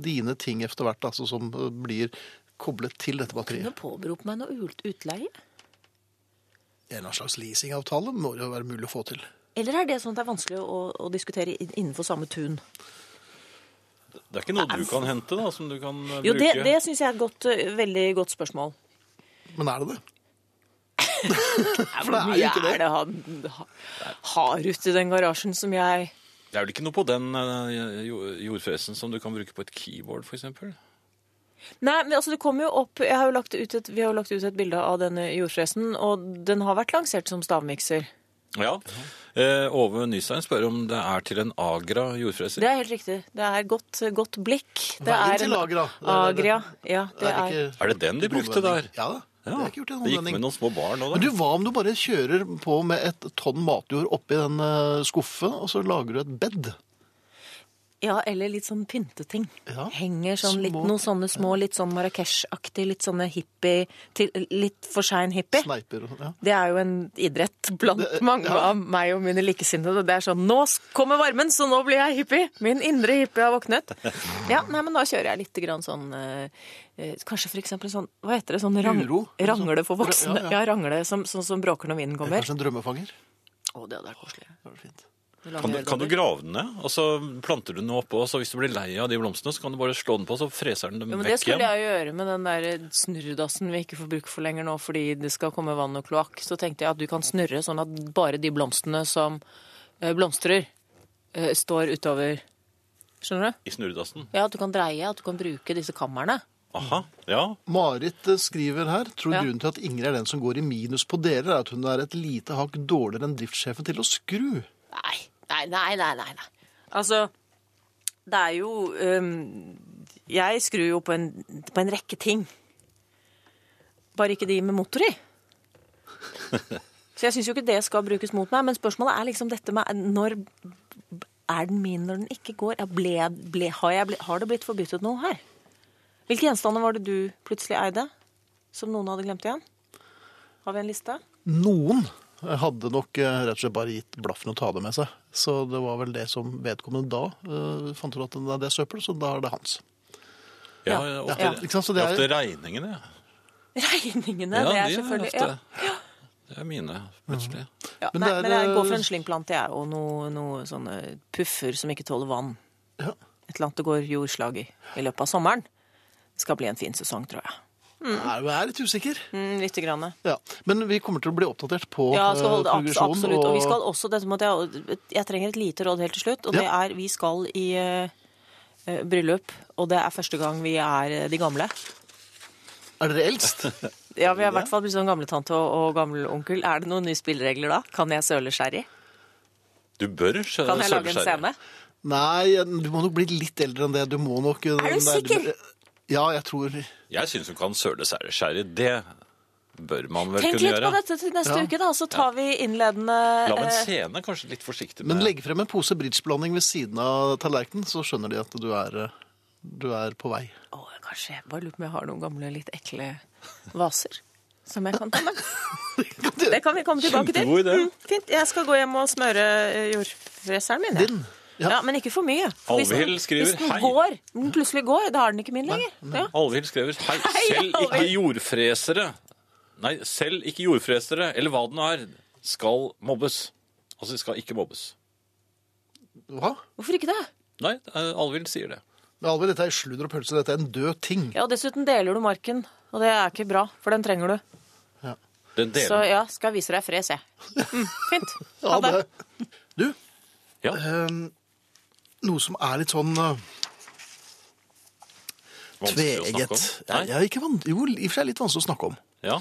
[SPEAKER 1] dine ting etter hvert altså, som eh, blir koblet til dette batteriet.
[SPEAKER 4] Kunne påberope meg noe ut- utleie.
[SPEAKER 1] En eller annen slags leasingavtale må det jo være mulig å få til.
[SPEAKER 4] Eller er det sånn at det er vanskelig å, å diskutere inn- innenfor samme tun?
[SPEAKER 2] Det er ikke noe du kan hente, da, som du kan eh, bruke?
[SPEAKER 4] altså. Jo, det, det syns jeg er et godt, ø, veldig godt spørsmål.
[SPEAKER 1] Men er det det?
[SPEAKER 4] For
[SPEAKER 1] det er jo ikke det.
[SPEAKER 4] Er det han ha- har ute i den garasjen som jeg
[SPEAKER 2] Det er vel ikke noe på den eh, jo- jordfresen som du kan bruke på et keyboard, f.eks.?
[SPEAKER 4] Nei, men altså det kommer jo opp jeg har jo lagt ut et, Vi har jo lagt ut et bilde av denne jordfresen, og den har vært lansert som stavmikser.
[SPEAKER 2] Ja. Eh, Ove Nystein spør om det er til en Agra jordfreser.
[SPEAKER 4] Det er helt riktig. Det er godt, godt blikk. Det
[SPEAKER 1] Veien
[SPEAKER 4] er
[SPEAKER 1] til
[SPEAKER 4] en-
[SPEAKER 1] Agra. Det er det.
[SPEAKER 4] Agra. Ja, det er
[SPEAKER 1] ikke-
[SPEAKER 2] Er det den de brukte der?
[SPEAKER 1] Ja da. Det
[SPEAKER 2] Ja,
[SPEAKER 1] er ikke gjort i en
[SPEAKER 2] det gikk med
[SPEAKER 1] håndvending.
[SPEAKER 2] noen små barn nå,
[SPEAKER 1] Men
[SPEAKER 2] da.
[SPEAKER 1] du, hva om du bare kjører på med et tonn matjord oppi den eh, skuffen, og så lager du et bed?
[SPEAKER 4] Ja, eller litt sånn pynteting.
[SPEAKER 1] Ja.
[SPEAKER 4] Henger sånn litt,
[SPEAKER 1] Små-
[SPEAKER 4] noen sånne små, litt sånn Marrakech-aktig, litt sånne hippie til, Litt for sein hippie.
[SPEAKER 1] Sneiper og sånn. Ja.
[SPEAKER 4] Det er jo en idrett blant mange av meg og mine likesinnede. Det er sånn Nå kommer varmen, så nå blir jeg hippie! Min indre hippie har våknet.
[SPEAKER 1] *laughs*
[SPEAKER 4] Ja, nei, men da kjører jeg litt grann sånn eh, eh, Kanskje for eksempel sånn Hva heter det? Sånn rang,
[SPEAKER 1] Uro? liksom.
[SPEAKER 4] rangle for voksne?
[SPEAKER 1] Ja,
[SPEAKER 4] Ja,
[SPEAKER 1] ja.
[SPEAKER 4] rangle som, sånn som bråker når vinden kommer.
[SPEAKER 1] Kanskje en drømmefanger?
[SPEAKER 4] Å, det hadde vært koselig.
[SPEAKER 1] Det var fint.
[SPEAKER 4] Med lange
[SPEAKER 2] Kan du, kan du
[SPEAKER 4] øredobber.
[SPEAKER 2] grave den ned? Og så planter du den oppå, og så hvis du blir lei av de blomstene, så kan du bare slå den på, så freser den dem
[SPEAKER 4] Ja, men det
[SPEAKER 2] vekk igjen.
[SPEAKER 4] skulle jeg jo gjøre med den der snurredassen vi ikke får bruk for lenger nå fordi det skal komme vann og kloakk. Så tenkte jeg at du kan snurre sånn at bare de blomstene som eh, blomstrer, eh, står utover Skjønner du?
[SPEAKER 2] I snurredassen.
[SPEAKER 4] Ja, at du kan dreie, at du kan bruke disse kammerne.
[SPEAKER 2] Aha, ja.
[SPEAKER 1] Marit eh, skriver her tror
[SPEAKER 4] Ja.
[SPEAKER 1] grunnen til at Ingrid er den som går i minus på dere, er at hun er et lite hakk dårligere enn driftssjefen til å skru.
[SPEAKER 4] Nei, nei, nei, nei, nei. nei. Altså, det er jo øhm, Jeg skrur jo på en, på en rekke ting. Bare ikke de med motor *laughs* i. Så jeg syns jo ikke det skal brukes mot meg, men spørsmålet er liksom dette med når Er den min når den ikke går? Ja, ble, ble, har, jeg, ble- har det blitt forbyttet noe her? Hvilke gjenstander var det du plutselig eide, som noen hadde glemt igjen? Har vi en liste?
[SPEAKER 1] Noen hadde nok eh, rett og slett bare gitt blaffen og ta det med seg. Så det var vel det som vedkommende da eh, fant ut at det er søppel, så da er det hans.
[SPEAKER 2] Ja,
[SPEAKER 4] Ja.
[SPEAKER 2] ofte,
[SPEAKER 1] Ja, ikke sant, så det er-
[SPEAKER 2] ofte regningene. ja.
[SPEAKER 4] Regningene, det er
[SPEAKER 2] de
[SPEAKER 4] selvfølgelig
[SPEAKER 2] ofte-
[SPEAKER 4] ja.
[SPEAKER 2] Det er mine, plutselig.
[SPEAKER 4] Ja,
[SPEAKER 1] Men
[SPEAKER 4] nei,
[SPEAKER 1] det er,
[SPEAKER 4] men jeg går for
[SPEAKER 1] eh,
[SPEAKER 4] en slyngplante, jeg, og noen noe sånne puffer som ikke tåler vann.
[SPEAKER 1] Ja.
[SPEAKER 4] Et eller annet det går jordslag i i løpet av sommeren. Det skal bli en fin sesong, tror jeg.
[SPEAKER 1] Nei, Jeg er litt usikker.
[SPEAKER 4] Mm, Lite grann.
[SPEAKER 1] Ja. Men vi kommer til å bli oppdatert på
[SPEAKER 4] Ja, skal holde det
[SPEAKER 1] eh,
[SPEAKER 4] abs-
[SPEAKER 1] progresjon
[SPEAKER 4] absolutt. Og vi skal også, dette måtte jeg, jeg trenger et lite råd helt til slutt, og det
[SPEAKER 1] Ja.
[SPEAKER 4] er vi skal i eh, eh, bryllup, og det er første gang vi er eh, de gamle.
[SPEAKER 1] Er dere eldst?
[SPEAKER 4] Ja, vi er i hvert fall blitt sånn gamletante og, og gammelonkel. Er det noen nye spilleregler da? Kan jeg søle sherry?
[SPEAKER 2] Du bør skjære
[SPEAKER 4] Kan jeg lage en scene?
[SPEAKER 1] Nei, du må nok bli litt eldre enn det. Du må nok eh,
[SPEAKER 4] Er du sikker?
[SPEAKER 1] Ja, jeg tror
[SPEAKER 2] Jeg syns hun kan søle særskjære. Det bør man vel
[SPEAKER 4] Tenk
[SPEAKER 2] kunne
[SPEAKER 4] litt
[SPEAKER 2] gjøre.
[SPEAKER 4] på dette til neste
[SPEAKER 1] Ja.
[SPEAKER 4] uke, da, så tar vi innledende
[SPEAKER 2] La meg en
[SPEAKER 4] eh,
[SPEAKER 2] scene kanskje litt forsiktig med
[SPEAKER 1] Men legg frem en pose bridgeblanding ved siden av tallerkenen, så skjønner de at du er, eh, du er på vei.
[SPEAKER 4] Å, kanskje jeg bare lurer på om jeg har noen gamle, litt ekle vaser som jeg kan ta med. Det kan vi komme tilbake til.
[SPEAKER 2] Kjempegod idé.
[SPEAKER 4] Mm, fint. Jeg skal gå hjem og smøre eh, jordfreseren min. jeg.
[SPEAKER 1] Din?
[SPEAKER 4] Ja.
[SPEAKER 1] Ja.
[SPEAKER 4] men ikke for mye. For hvis
[SPEAKER 2] Alvhild
[SPEAKER 4] den-
[SPEAKER 2] skriver,
[SPEAKER 4] Hvis den
[SPEAKER 2] «Hei».
[SPEAKER 4] går, den plutselig går, da er den ikke min lenger. Ja.
[SPEAKER 2] Alvhild skriver Hei, selv ikke
[SPEAKER 4] Alvhild.
[SPEAKER 2] jordfresere Nei, selv ikke jordfresere, eller hva det nå er, skal mobbes. Altså, de skal ikke mobbes.
[SPEAKER 1] Hva?
[SPEAKER 4] Hvorfor ikke det?
[SPEAKER 2] Nei, eh, Alvhild sier det.
[SPEAKER 1] Men Alvor, dette er sludder og pølse. Dette er en død ting.
[SPEAKER 4] Ja, og Dessuten deler du marken, og det er ikke bra, for den trenger du.
[SPEAKER 2] Den
[SPEAKER 4] Så
[SPEAKER 2] delen.
[SPEAKER 4] ja, skal jeg vise deg fres, jeg. Mm, fint.
[SPEAKER 1] Ja,
[SPEAKER 4] Ha det.
[SPEAKER 1] det- Du,
[SPEAKER 2] Ja.
[SPEAKER 1] eh, noe som er litt sånn eh,
[SPEAKER 2] vanskelig å snakke
[SPEAKER 1] tveegget.
[SPEAKER 2] om.
[SPEAKER 1] Ja,
[SPEAKER 2] Nei?
[SPEAKER 1] ikke van- jo, i og for seg litt vanskelig å snakke om.
[SPEAKER 2] Ja.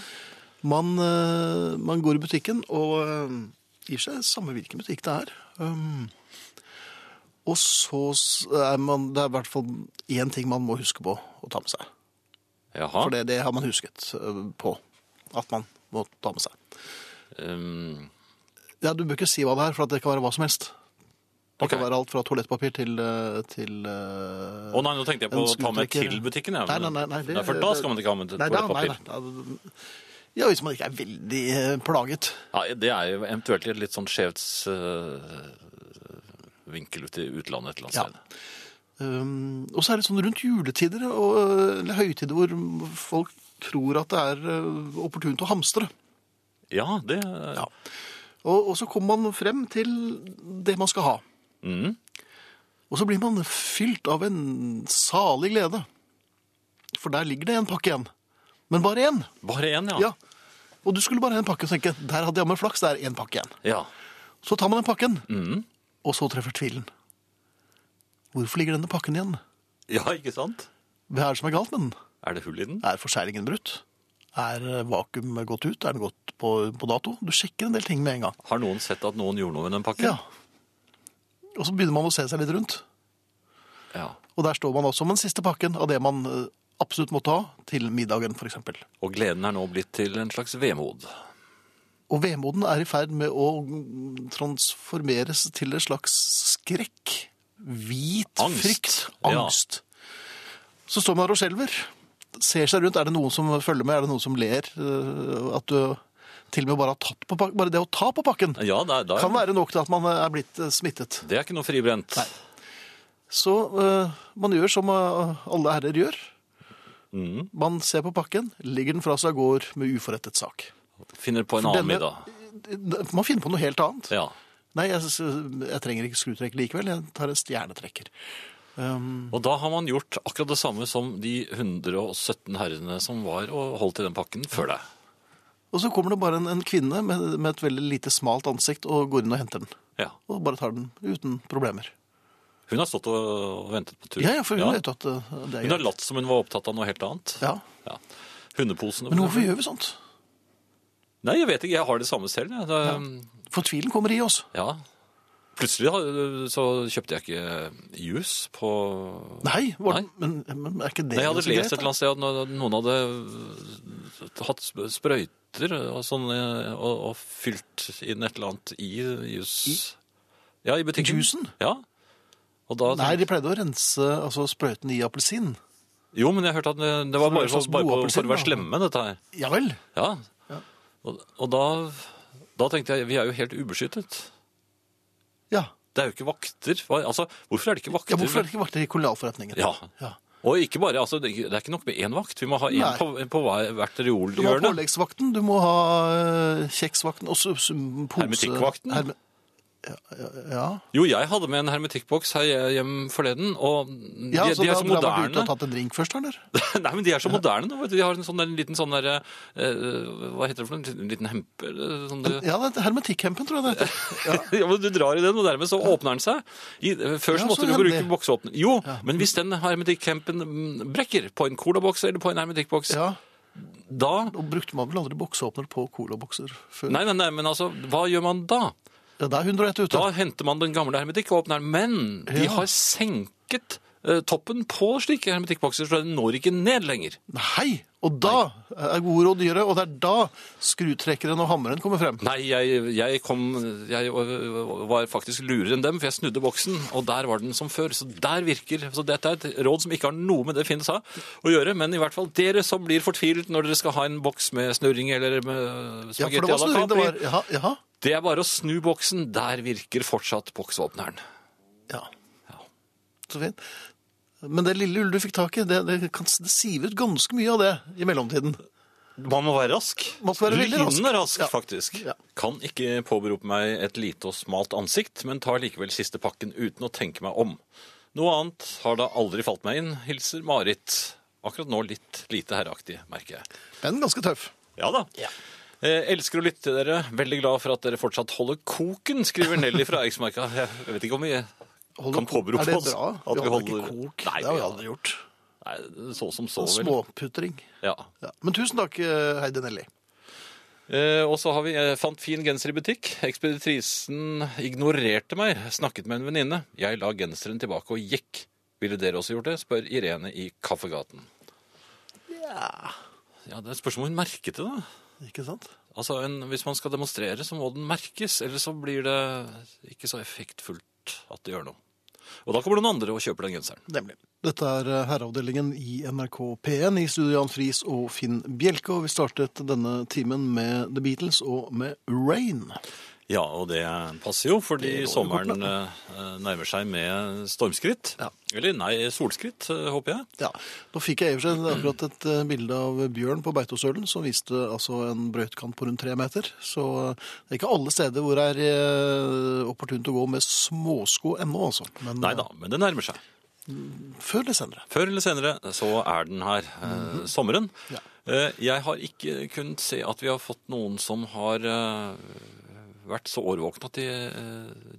[SPEAKER 1] Man, eh, man går i butikken, og eh, i og for seg samme hvilken butikk det er. Um, og så s- er man, det er i hvert fall én ting man må huske på å ta med seg.
[SPEAKER 2] Jaha.
[SPEAKER 1] For det, det har man husket eh, på at man må ta med seg.
[SPEAKER 2] Um,
[SPEAKER 1] Ja, Du bør ikke si hva det er, for at det kan være hva som helst. Det
[SPEAKER 2] Ok.
[SPEAKER 1] kan være alt fra toalettpapir til, eh, til eh,
[SPEAKER 2] Å nei, nå tenkte jeg på
[SPEAKER 1] En
[SPEAKER 2] å ta med
[SPEAKER 1] skrutrekker.
[SPEAKER 2] til butikken. Ja.
[SPEAKER 1] Nei, nei, nei, nei, det-
[SPEAKER 2] for da skal man ikke ha med
[SPEAKER 1] Nei, da-
[SPEAKER 2] toalettpapir.
[SPEAKER 1] nei, nei. Ja, hvis man ikke er veldig eh, plaget.
[SPEAKER 2] Ja, det er jo eventuelt et litt sånn skjevt eh, vinkel ut i utlandet et eller annet
[SPEAKER 1] Ja.
[SPEAKER 2] sted.
[SPEAKER 1] Um, og så er det sånn rundt juletider og øh, eller høytider hvor folk tror at det er øh, opportunt å hamstre.
[SPEAKER 2] Ja, det
[SPEAKER 1] Ja. Og, og så kommer man frem til det man skal ha. Mm.
[SPEAKER 2] Mhm.
[SPEAKER 1] Og så blir man fylt av en salig glede. For der ligger det en pakke igjen. Men bare én.
[SPEAKER 2] Bare én, ja.
[SPEAKER 1] Ja. Og du skulle bare ha en pakke og tenke der hadde jeg med flaks, det er én pakke igjen.
[SPEAKER 2] Ja.
[SPEAKER 1] Så tar man den pakken,
[SPEAKER 2] Mhm.
[SPEAKER 1] og så treffer tvilen. Hvorfor ligger denne pakken igjen?
[SPEAKER 2] ja, ikke sant?
[SPEAKER 1] Hva er det som er galt med den?
[SPEAKER 2] Er det hull i den?
[SPEAKER 1] Er forsegringen brutt? Er vakuumet gått ut? Er den gått på, på dato? Du sjekker en del ting med en gang.
[SPEAKER 2] Har noen sett at noen gjorde noe med den pakken?
[SPEAKER 1] Ja. Og så begynner man å se seg litt rundt.
[SPEAKER 2] Ja.
[SPEAKER 1] Og der står man også med den siste pakken av det man eh, absolutt måtte ha til middagen, f.eks.
[SPEAKER 2] Og gleden er nå blitt til en slags vemod.
[SPEAKER 1] Og vemoden er i ferd med å mm, transformeres til en slags skrekk. Hvit
[SPEAKER 2] Angst.
[SPEAKER 1] frykt.
[SPEAKER 2] Ja.
[SPEAKER 1] Angst. Så står man der og skjelver. Ser seg rundt. Er det noen som følger med? Er det noen som ler? Eh, At du til og med bare har tatt på pakken. Bare det å ta på pakken
[SPEAKER 2] Ja, det er, det er-
[SPEAKER 1] kan være nok til at man er blitt eh, smittet.
[SPEAKER 2] det er ikke noe fribrent.
[SPEAKER 1] Så eh, man gjør som eh, alle herrer gjør.
[SPEAKER 2] Mm.
[SPEAKER 1] Man ser på pakken, ligger den fra seg og går med uforrettet sak.
[SPEAKER 2] Finner på en
[SPEAKER 1] For
[SPEAKER 2] annen
[SPEAKER 1] denne-
[SPEAKER 2] middag.
[SPEAKER 1] Man finner på noe helt annet.
[SPEAKER 2] Ja.
[SPEAKER 1] Nei, jeg, jeg trenger ikke skrutrekker likevel, jeg tar en stjernetrekker.
[SPEAKER 2] Og da har man gjort akkurat det samme som de 117 herrene som var og holdt i den pakken før deg.
[SPEAKER 1] Og så kommer det bare en, en kvinne med, med et veldig lite smalt ansikt og går inn og henter den.
[SPEAKER 2] Ja.
[SPEAKER 1] Og bare tar den uten problemer.
[SPEAKER 2] Hun har stått og ventet på tur.
[SPEAKER 1] Ja, ja, for hun vet jo at eh, det er
[SPEAKER 2] Hun har
[SPEAKER 1] greit.
[SPEAKER 2] latt som hun var opptatt av noe helt annet.
[SPEAKER 1] Ja.
[SPEAKER 2] Ja. Hundeposene.
[SPEAKER 1] Men
[SPEAKER 2] for
[SPEAKER 1] hvorfor
[SPEAKER 2] eksempel.
[SPEAKER 1] gjør vi sånt?
[SPEAKER 2] Nei, jeg vet ikke. Jeg har det samme selv. jeg. Det,
[SPEAKER 1] For tvilen kommer i oss.
[SPEAKER 2] ja. Plutselig da, så kjøpte jeg ikke eh, jus på
[SPEAKER 1] Nei, var,
[SPEAKER 2] Nei.
[SPEAKER 1] Men, men er ikke det
[SPEAKER 2] Nei, jeg hadde
[SPEAKER 1] ganske greit,
[SPEAKER 2] lest et eller annet sted at når noen hadde øh, hatt sp- sprøyter og, sånn, øh, og, og fylt inn et eller annet i jus. Ja, i butikken.
[SPEAKER 1] juicen?
[SPEAKER 2] Ja. Og da,
[SPEAKER 1] Nei, de pleide å rense altså, sprøyten i appelsin.
[SPEAKER 2] Jo, men jeg hørte at det, det
[SPEAKER 1] Så det
[SPEAKER 2] var
[SPEAKER 1] var
[SPEAKER 2] bare,
[SPEAKER 1] en slags
[SPEAKER 2] for- bare på- for å
[SPEAKER 1] blodappelsin, da.
[SPEAKER 2] være slemme, dette her.
[SPEAKER 1] Ja vel.
[SPEAKER 2] Ja. Og, og da, da tenkte jeg, vi er jo helt ubeskyttet.
[SPEAKER 1] Ja.
[SPEAKER 2] Det er jo ikke vakter. Hva- Altså, hvorfor er det ikke vakter?
[SPEAKER 1] ja hvorfor er det ikke vært i kolonialforretningen?
[SPEAKER 2] Ja.
[SPEAKER 1] Ja.
[SPEAKER 2] Og ikke bare, altså, det det er ikke nok med én vakt. Vi må ha én
[SPEAKER 1] Nei.
[SPEAKER 2] på, på hver- hvert
[SPEAKER 1] Du må ha
[SPEAKER 2] reolhjørne.
[SPEAKER 1] påleggsvakten, du må ha eh, kjeksvakten og så- så- pose...
[SPEAKER 2] Hermetikkvakten?
[SPEAKER 1] Herme- Ja.
[SPEAKER 2] Jo, jeg hadde med en hermetikkboks her hjem forleden, og de,
[SPEAKER 1] ja. ja så
[SPEAKER 2] de er
[SPEAKER 1] da, da var
[SPEAKER 2] så
[SPEAKER 1] du ute
[SPEAKER 2] moderne.
[SPEAKER 1] og tatt en drink først, eller?
[SPEAKER 2] *laughs* Nei, men de er så moderne nå. vet du. De har en sånn der, en liten sånn der eh, Hva heter det for noe? En liten hempe? eller Sånn
[SPEAKER 1] *laughs*
[SPEAKER 2] du,
[SPEAKER 1] Ja, det er hermetikkhempen, tror jeg det
[SPEAKER 2] *laughs*
[SPEAKER 1] heter.
[SPEAKER 2] ja, men du drar i den, og dermed så åpner den seg. I, eh, før så
[SPEAKER 1] Ja, så
[SPEAKER 2] måtte du
[SPEAKER 1] hemmelig.
[SPEAKER 2] bruke boksåpner. Jo, men hvis den hermetikkhampen mm, brekker på en colaboks eller på en hermetikkboks,
[SPEAKER 1] Ja.
[SPEAKER 2] da
[SPEAKER 1] Og brukte man vel aldri bokseåpner på colabokser før?
[SPEAKER 2] Nei, nei, nei, men altså, hva gjør man da?
[SPEAKER 1] Ja, da er 101 ute.
[SPEAKER 2] Da henter man den gamle hermetikk og åpner den, men
[SPEAKER 1] Ja.
[SPEAKER 2] de har senket eh, toppen på slike hermetikkbokser, så den når ikke ned lenger.
[SPEAKER 1] Nei! Og da er gode råd dyre, og det er da skrutrekkeren og hammeren kommer frem.
[SPEAKER 2] Nei, jeg, jeg kom Jeg øh, var faktisk lurere enn dem, for jeg snudde boksen, og der var den som før. Så der virker. Så dette er et råd som ikke har noe med det Finn sa å gjøre, men i hvert fall dere som blir fortvilet når dere skal ha en boks med snurring eller med
[SPEAKER 1] Ja, for
[SPEAKER 2] spagetti
[SPEAKER 1] det var
[SPEAKER 2] à la
[SPEAKER 1] snurring. Det
[SPEAKER 2] Capri,
[SPEAKER 1] var Ja, ja.
[SPEAKER 2] det er bare å snu boksen. Der virker fortsatt boksåpneren.
[SPEAKER 1] ja.
[SPEAKER 2] Ja.
[SPEAKER 1] Så fint. Men det lille hullet du fikk tak i, det, det, kan, det siver ut ganske mye av det i mellomtiden.
[SPEAKER 2] Man må være rask.
[SPEAKER 1] Man skal være veldig rask.
[SPEAKER 2] Lynende rask,
[SPEAKER 1] Ja.
[SPEAKER 2] faktisk.
[SPEAKER 1] Ja.
[SPEAKER 2] Kan ikke påberope meg et lite og smalt ansikt, men tar likevel siste pakken uten å tenke meg om. Noe annet har da aldri falt meg inn. Hilser Marit. Akkurat nå litt lite herreaktig, merker jeg.
[SPEAKER 1] Men ganske tøff.
[SPEAKER 2] Ja da. Eh, elsker å lytte til dere. Veldig glad for at dere fortsatt holder koken, skriver Nelly fra Eiksmarka. Jeg vet ikke om vi
[SPEAKER 1] Holder
[SPEAKER 2] kan
[SPEAKER 1] ko-
[SPEAKER 2] påberope
[SPEAKER 1] Er det
[SPEAKER 2] oss
[SPEAKER 1] bra?
[SPEAKER 2] at vi
[SPEAKER 1] holder
[SPEAKER 2] holder
[SPEAKER 1] ikke kok. det
[SPEAKER 2] Nei,
[SPEAKER 1] har
[SPEAKER 2] vi
[SPEAKER 1] vi
[SPEAKER 2] hadde-
[SPEAKER 1] aldri gjort.
[SPEAKER 2] Nei, så som så, vel.
[SPEAKER 1] Småputring.
[SPEAKER 2] Ja.
[SPEAKER 1] Ja. Men tusen takk, eh, Heidi Nelly.
[SPEAKER 2] Eh, og så har vi eh, fant fin genser i butikk. Ekspeditrisen ignorerte meg, snakket med en venninne. Jeg la genseren tilbake og gikk. Ville dere også gjort det? spør Irene i Kaffegaten. Ja, Det spørs om hun merket det, da.
[SPEAKER 1] Ikke sant?
[SPEAKER 2] Altså, en, Hvis man skal demonstrere, så må den merkes. Eller så blir det ikke så effektfullt at det gjør noe. Og da kommer noen andre og kjøper den genseren.
[SPEAKER 1] Nemlig. Dette er eh, herreavdelingen i NRK P1 i studio Jan Friis og Finn Bjelke, og vi startet denne timen med The Beatles og med Rain.
[SPEAKER 2] Ja, og det passer jo, fordi
[SPEAKER 1] Det går jo
[SPEAKER 2] sommeren eh, nærmer seg med stormskritt.
[SPEAKER 1] Ja.
[SPEAKER 2] Eller nei, solskritt, eh, håper jeg.
[SPEAKER 1] Ja, Nå fikk jeg i og for seg akkurat et eh, bilde av bjørn på Beitostølen som viste altså en brøytkant på rundt tre meter. Så eh, det er ikke alle steder hvor det er eh, opportunt å gå med småsko ennå, altså. Men
[SPEAKER 2] Nei da, men det nærmer seg.
[SPEAKER 1] eh, før eller senere.
[SPEAKER 2] Før eller senere så er den her, eh, sommeren.
[SPEAKER 1] Ja.
[SPEAKER 2] Eh, jeg har ikke kunnet se at vi har fått noen som har eh, vært så årvåkne at de eh,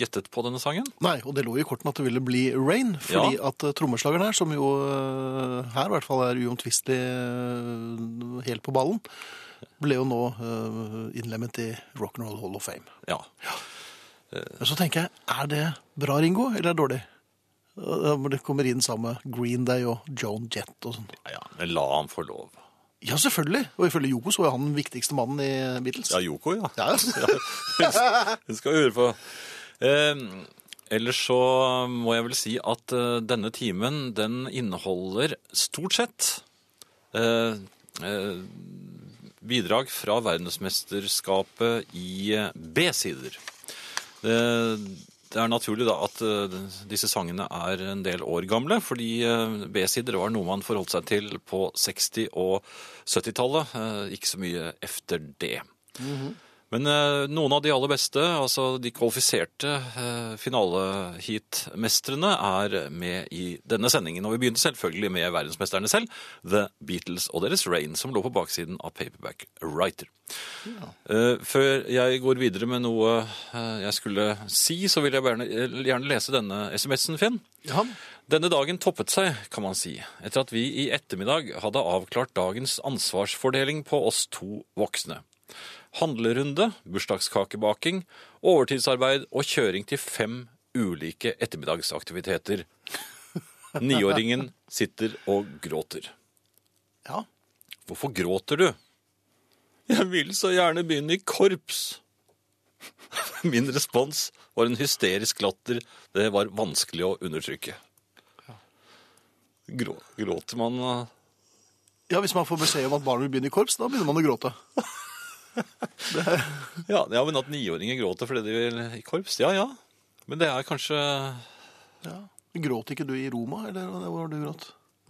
[SPEAKER 2] gjettet på denne sangen.
[SPEAKER 1] Nei, og det lå i kortene at det ville bli rain, fordi at eh, trommeslageren her, som jo eh, her i hvert fall er uomtvistelig eh, helt på ballen, ble jo nå eh, innlemmet i Rock'n'Roll Hall of Fame.
[SPEAKER 2] Ja.
[SPEAKER 1] Men så tenker jeg, er det bra Ringo, eller er det dårlig? Eh, men Det kommer inn sammen med Green Day og Joan Jett og sånn.
[SPEAKER 2] ja, ja, men la han få lov.
[SPEAKER 1] Ja, selvfølgelig. Og ifølge Joko så var jo han den viktigste mannen i Beatles.
[SPEAKER 2] Ja, Yoko, ja.
[SPEAKER 1] Ja,
[SPEAKER 2] *laughs* Hun skal høre på. Eh, ellers så må jeg vel si at eh, denne timen, den inneholder stort sett eh, eh, bidrag fra verdensmesterskapet i eh, B-sider. Eh, det er naturlig da at eh, disse sangene er en del år gamle, fordi eh, B-sider var noe man forholdt seg til på 60- og 70-tallet, eh, ikke så mye efter det. Men eh, noen av de aller beste, altså de kvalifiserte eh, finaleheatmestrene, er med i denne sendingen. Og vi begynte selvfølgelig med verdensmesterne selv, The Beatles og deres Rain, som lå på baksiden av Paperback Writer. Eh, før jeg går videre med noe eh, jeg skulle si, så vil jeg gjerne, gjerne lese denne SMS-en, Finn.
[SPEAKER 1] Ja.
[SPEAKER 2] Denne dagen toppet seg, kan man si, etter at vi i ettermiddag hadde avklart dagens ansvarsfordeling på oss to voksne. Handlerunde, bursdagskakebaking, overtidsarbeid og kjøring til fem ulike ettermiddagsaktiviteter. Niåringen sitter og gråter.
[SPEAKER 1] ja.
[SPEAKER 2] Hvorfor gråter du? Jeg vil så gjerne begynne i korps. *laughs* Min respons var en hysterisk latter det var vanskelig å undertrykke. Grå, gråter man eh,
[SPEAKER 1] Ja, hvis man får beskjed om at barnet vil begynne i korps, da begynner man å gråte.
[SPEAKER 2] Ja, ja, men at niåringer gråter fordi de vil i korps, ja ja. Men det er kanskje
[SPEAKER 1] Ja. Gråt ikke du i Roma, eller hva var det du gråt?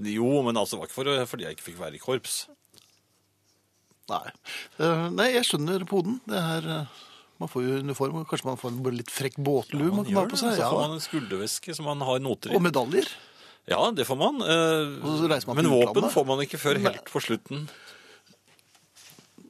[SPEAKER 2] Jo, men altså, det var ikke for, fordi jeg ikke fikk være i korps.
[SPEAKER 1] Nei. Eh, nei, jeg skjønner poden. Det er eh, Man får jo uniform, og kanskje man får en litt frekk båtlue man, kan ha på seg.
[SPEAKER 2] Så får
[SPEAKER 1] Ja.
[SPEAKER 2] man en skulderveske som man har noter i.
[SPEAKER 1] Og medaljer.
[SPEAKER 2] Ja, det får man. eh,
[SPEAKER 1] Og så reiser man til
[SPEAKER 2] men våpen
[SPEAKER 1] utlandet.
[SPEAKER 2] får man ikke før helt på slutten.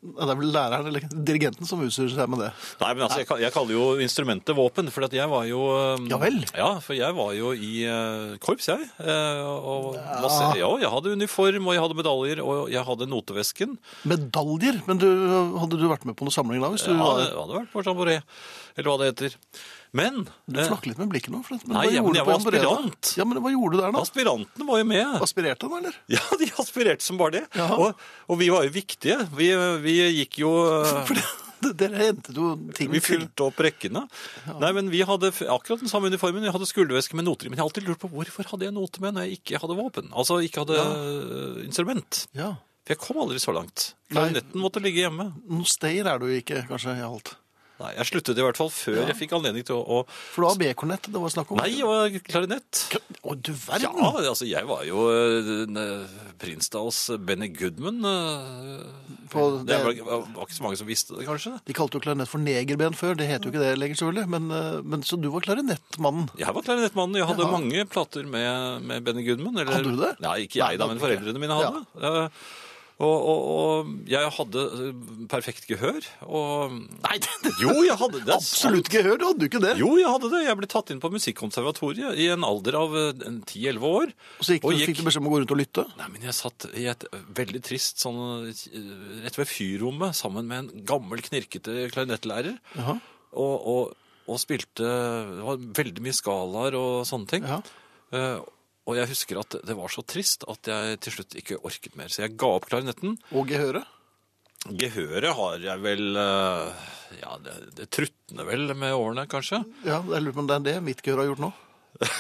[SPEAKER 1] Det er vel læreren eller dirigenten som utstyrer seg med det.
[SPEAKER 2] Nei, men altså, jeg, kal- jeg kaller jo instrumentet våpen, for at jeg var jo eh,
[SPEAKER 1] Ja vel.
[SPEAKER 2] Ja, for jeg var jo i eh, korps, jeg. eh, Og masse, ja, jeg hadde uniform, og jeg hadde medaljer, og jeg hadde notevesken.
[SPEAKER 1] Medaljer? Men du, hadde du vært med på noen samling da? Hvis du,
[SPEAKER 2] Ja,
[SPEAKER 1] var,
[SPEAKER 2] det hadde vært på Jamboree, eller hva det heter. Men
[SPEAKER 1] du
[SPEAKER 2] eh,
[SPEAKER 1] flakk litt med blikket nå. For, men
[SPEAKER 2] Nei,
[SPEAKER 1] hva
[SPEAKER 2] ja, men
[SPEAKER 1] gjorde
[SPEAKER 2] jeg
[SPEAKER 1] du på
[SPEAKER 2] var
[SPEAKER 1] Jamboree da?
[SPEAKER 2] aspirant.
[SPEAKER 1] Ja, men hva gjorde du der da?
[SPEAKER 2] aspirantene var jo med.
[SPEAKER 1] Aspirerte han, eller? *laughs*
[SPEAKER 2] Ja, de aspirerte som bare det.
[SPEAKER 1] Ja.
[SPEAKER 2] Og, og vi var jo viktige. Vi, vi gikk jo eh,
[SPEAKER 1] *laughs* For det, dere hentet jo ting
[SPEAKER 2] Vi
[SPEAKER 1] til
[SPEAKER 2] fylte opp rekkene. Nei, men Vi hadde f- akkurat den samme uniformen. Vi hadde skulderveske med noter i. Men jeg har alltid lurt på hvorfor hadde jeg noter med når jeg ikke hadde våpen? Altså ikke hadde eh, instrument.
[SPEAKER 1] Ja.
[SPEAKER 2] For jeg kom aldri så langt.
[SPEAKER 1] Nei.
[SPEAKER 2] Klarinetten måtte ligge hjemme.
[SPEAKER 1] Noen stayer er du ikke, kanskje, i alt.
[SPEAKER 2] Nei, Jeg sluttet i hvert fall før jeg fikk anledning til å, å
[SPEAKER 1] For det var B-kornett det var snakk om.
[SPEAKER 2] Nei, det var klarinett.
[SPEAKER 1] Å, du
[SPEAKER 2] Ja,
[SPEAKER 1] verden!
[SPEAKER 2] altså jeg var jo eh, den, eh, Prinsdals Benny Goodman. eh,
[SPEAKER 1] På
[SPEAKER 2] Det var,
[SPEAKER 1] det-
[SPEAKER 2] var ikke så mange som visste det, kanskje.
[SPEAKER 1] De kalte jo klarinett for negerben før, det heter jo ikke det lenger, selvfølgelig. Men, eh, men så du var klarinettmannen.
[SPEAKER 2] Jeg var klarinettmannen. Jeg hadde
[SPEAKER 1] Jaha.
[SPEAKER 2] mange plater med, med Benny Goodman. Eller,
[SPEAKER 1] Hadde du det?
[SPEAKER 2] Nei, ikke jeg,
[SPEAKER 1] Nei,
[SPEAKER 2] da,
[SPEAKER 1] det hadde
[SPEAKER 2] men
[SPEAKER 1] du ikke.
[SPEAKER 2] foreldrene mine hadde. Eh, Og, og, og jeg hadde eh, perfekt gehør. Og Nei, jo, jeg hadde det. er sant.
[SPEAKER 1] Absolutt gehør, du hadde jo ikke det!
[SPEAKER 2] Jo, jeg hadde det. Jeg ble tatt inn på Musikkonservatoriet i en alder av eh, 10-11 år.
[SPEAKER 1] Og så gikk,
[SPEAKER 2] og
[SPEAKER 1] du- fikk du beskjed om å gå rundt og lytte.
[SPEAKER 2] Nei, men jeg satt i et veldig trist sånn eh, Rett ved fyrrommet sammen med en gammel, knirkete klarinettlærer.
[SPEAKER 1] Jaha.
[SPEAKER 2] Og, og, og spilte Det var veldig mye skalaer og sånne ting.
[SPEAKER 1] Ja.
[SPEAKER 2] Eh, og jeg husker at det var så trist at jeg til slutt ikke orket mer. Så jeg ga opp klarinetten.
[SPEAKER 1] Og gehøret.
[SPEAKER 2] Gehøret har jeg vel eh, Ja, det, det trutner vel med årene, kanskje.
[SPEAKER 1] Ja, jeg lurer på om det er det mitt gehør har gjort
[SPEAKER 2] *laughs*
[SPEAKER 1] nå.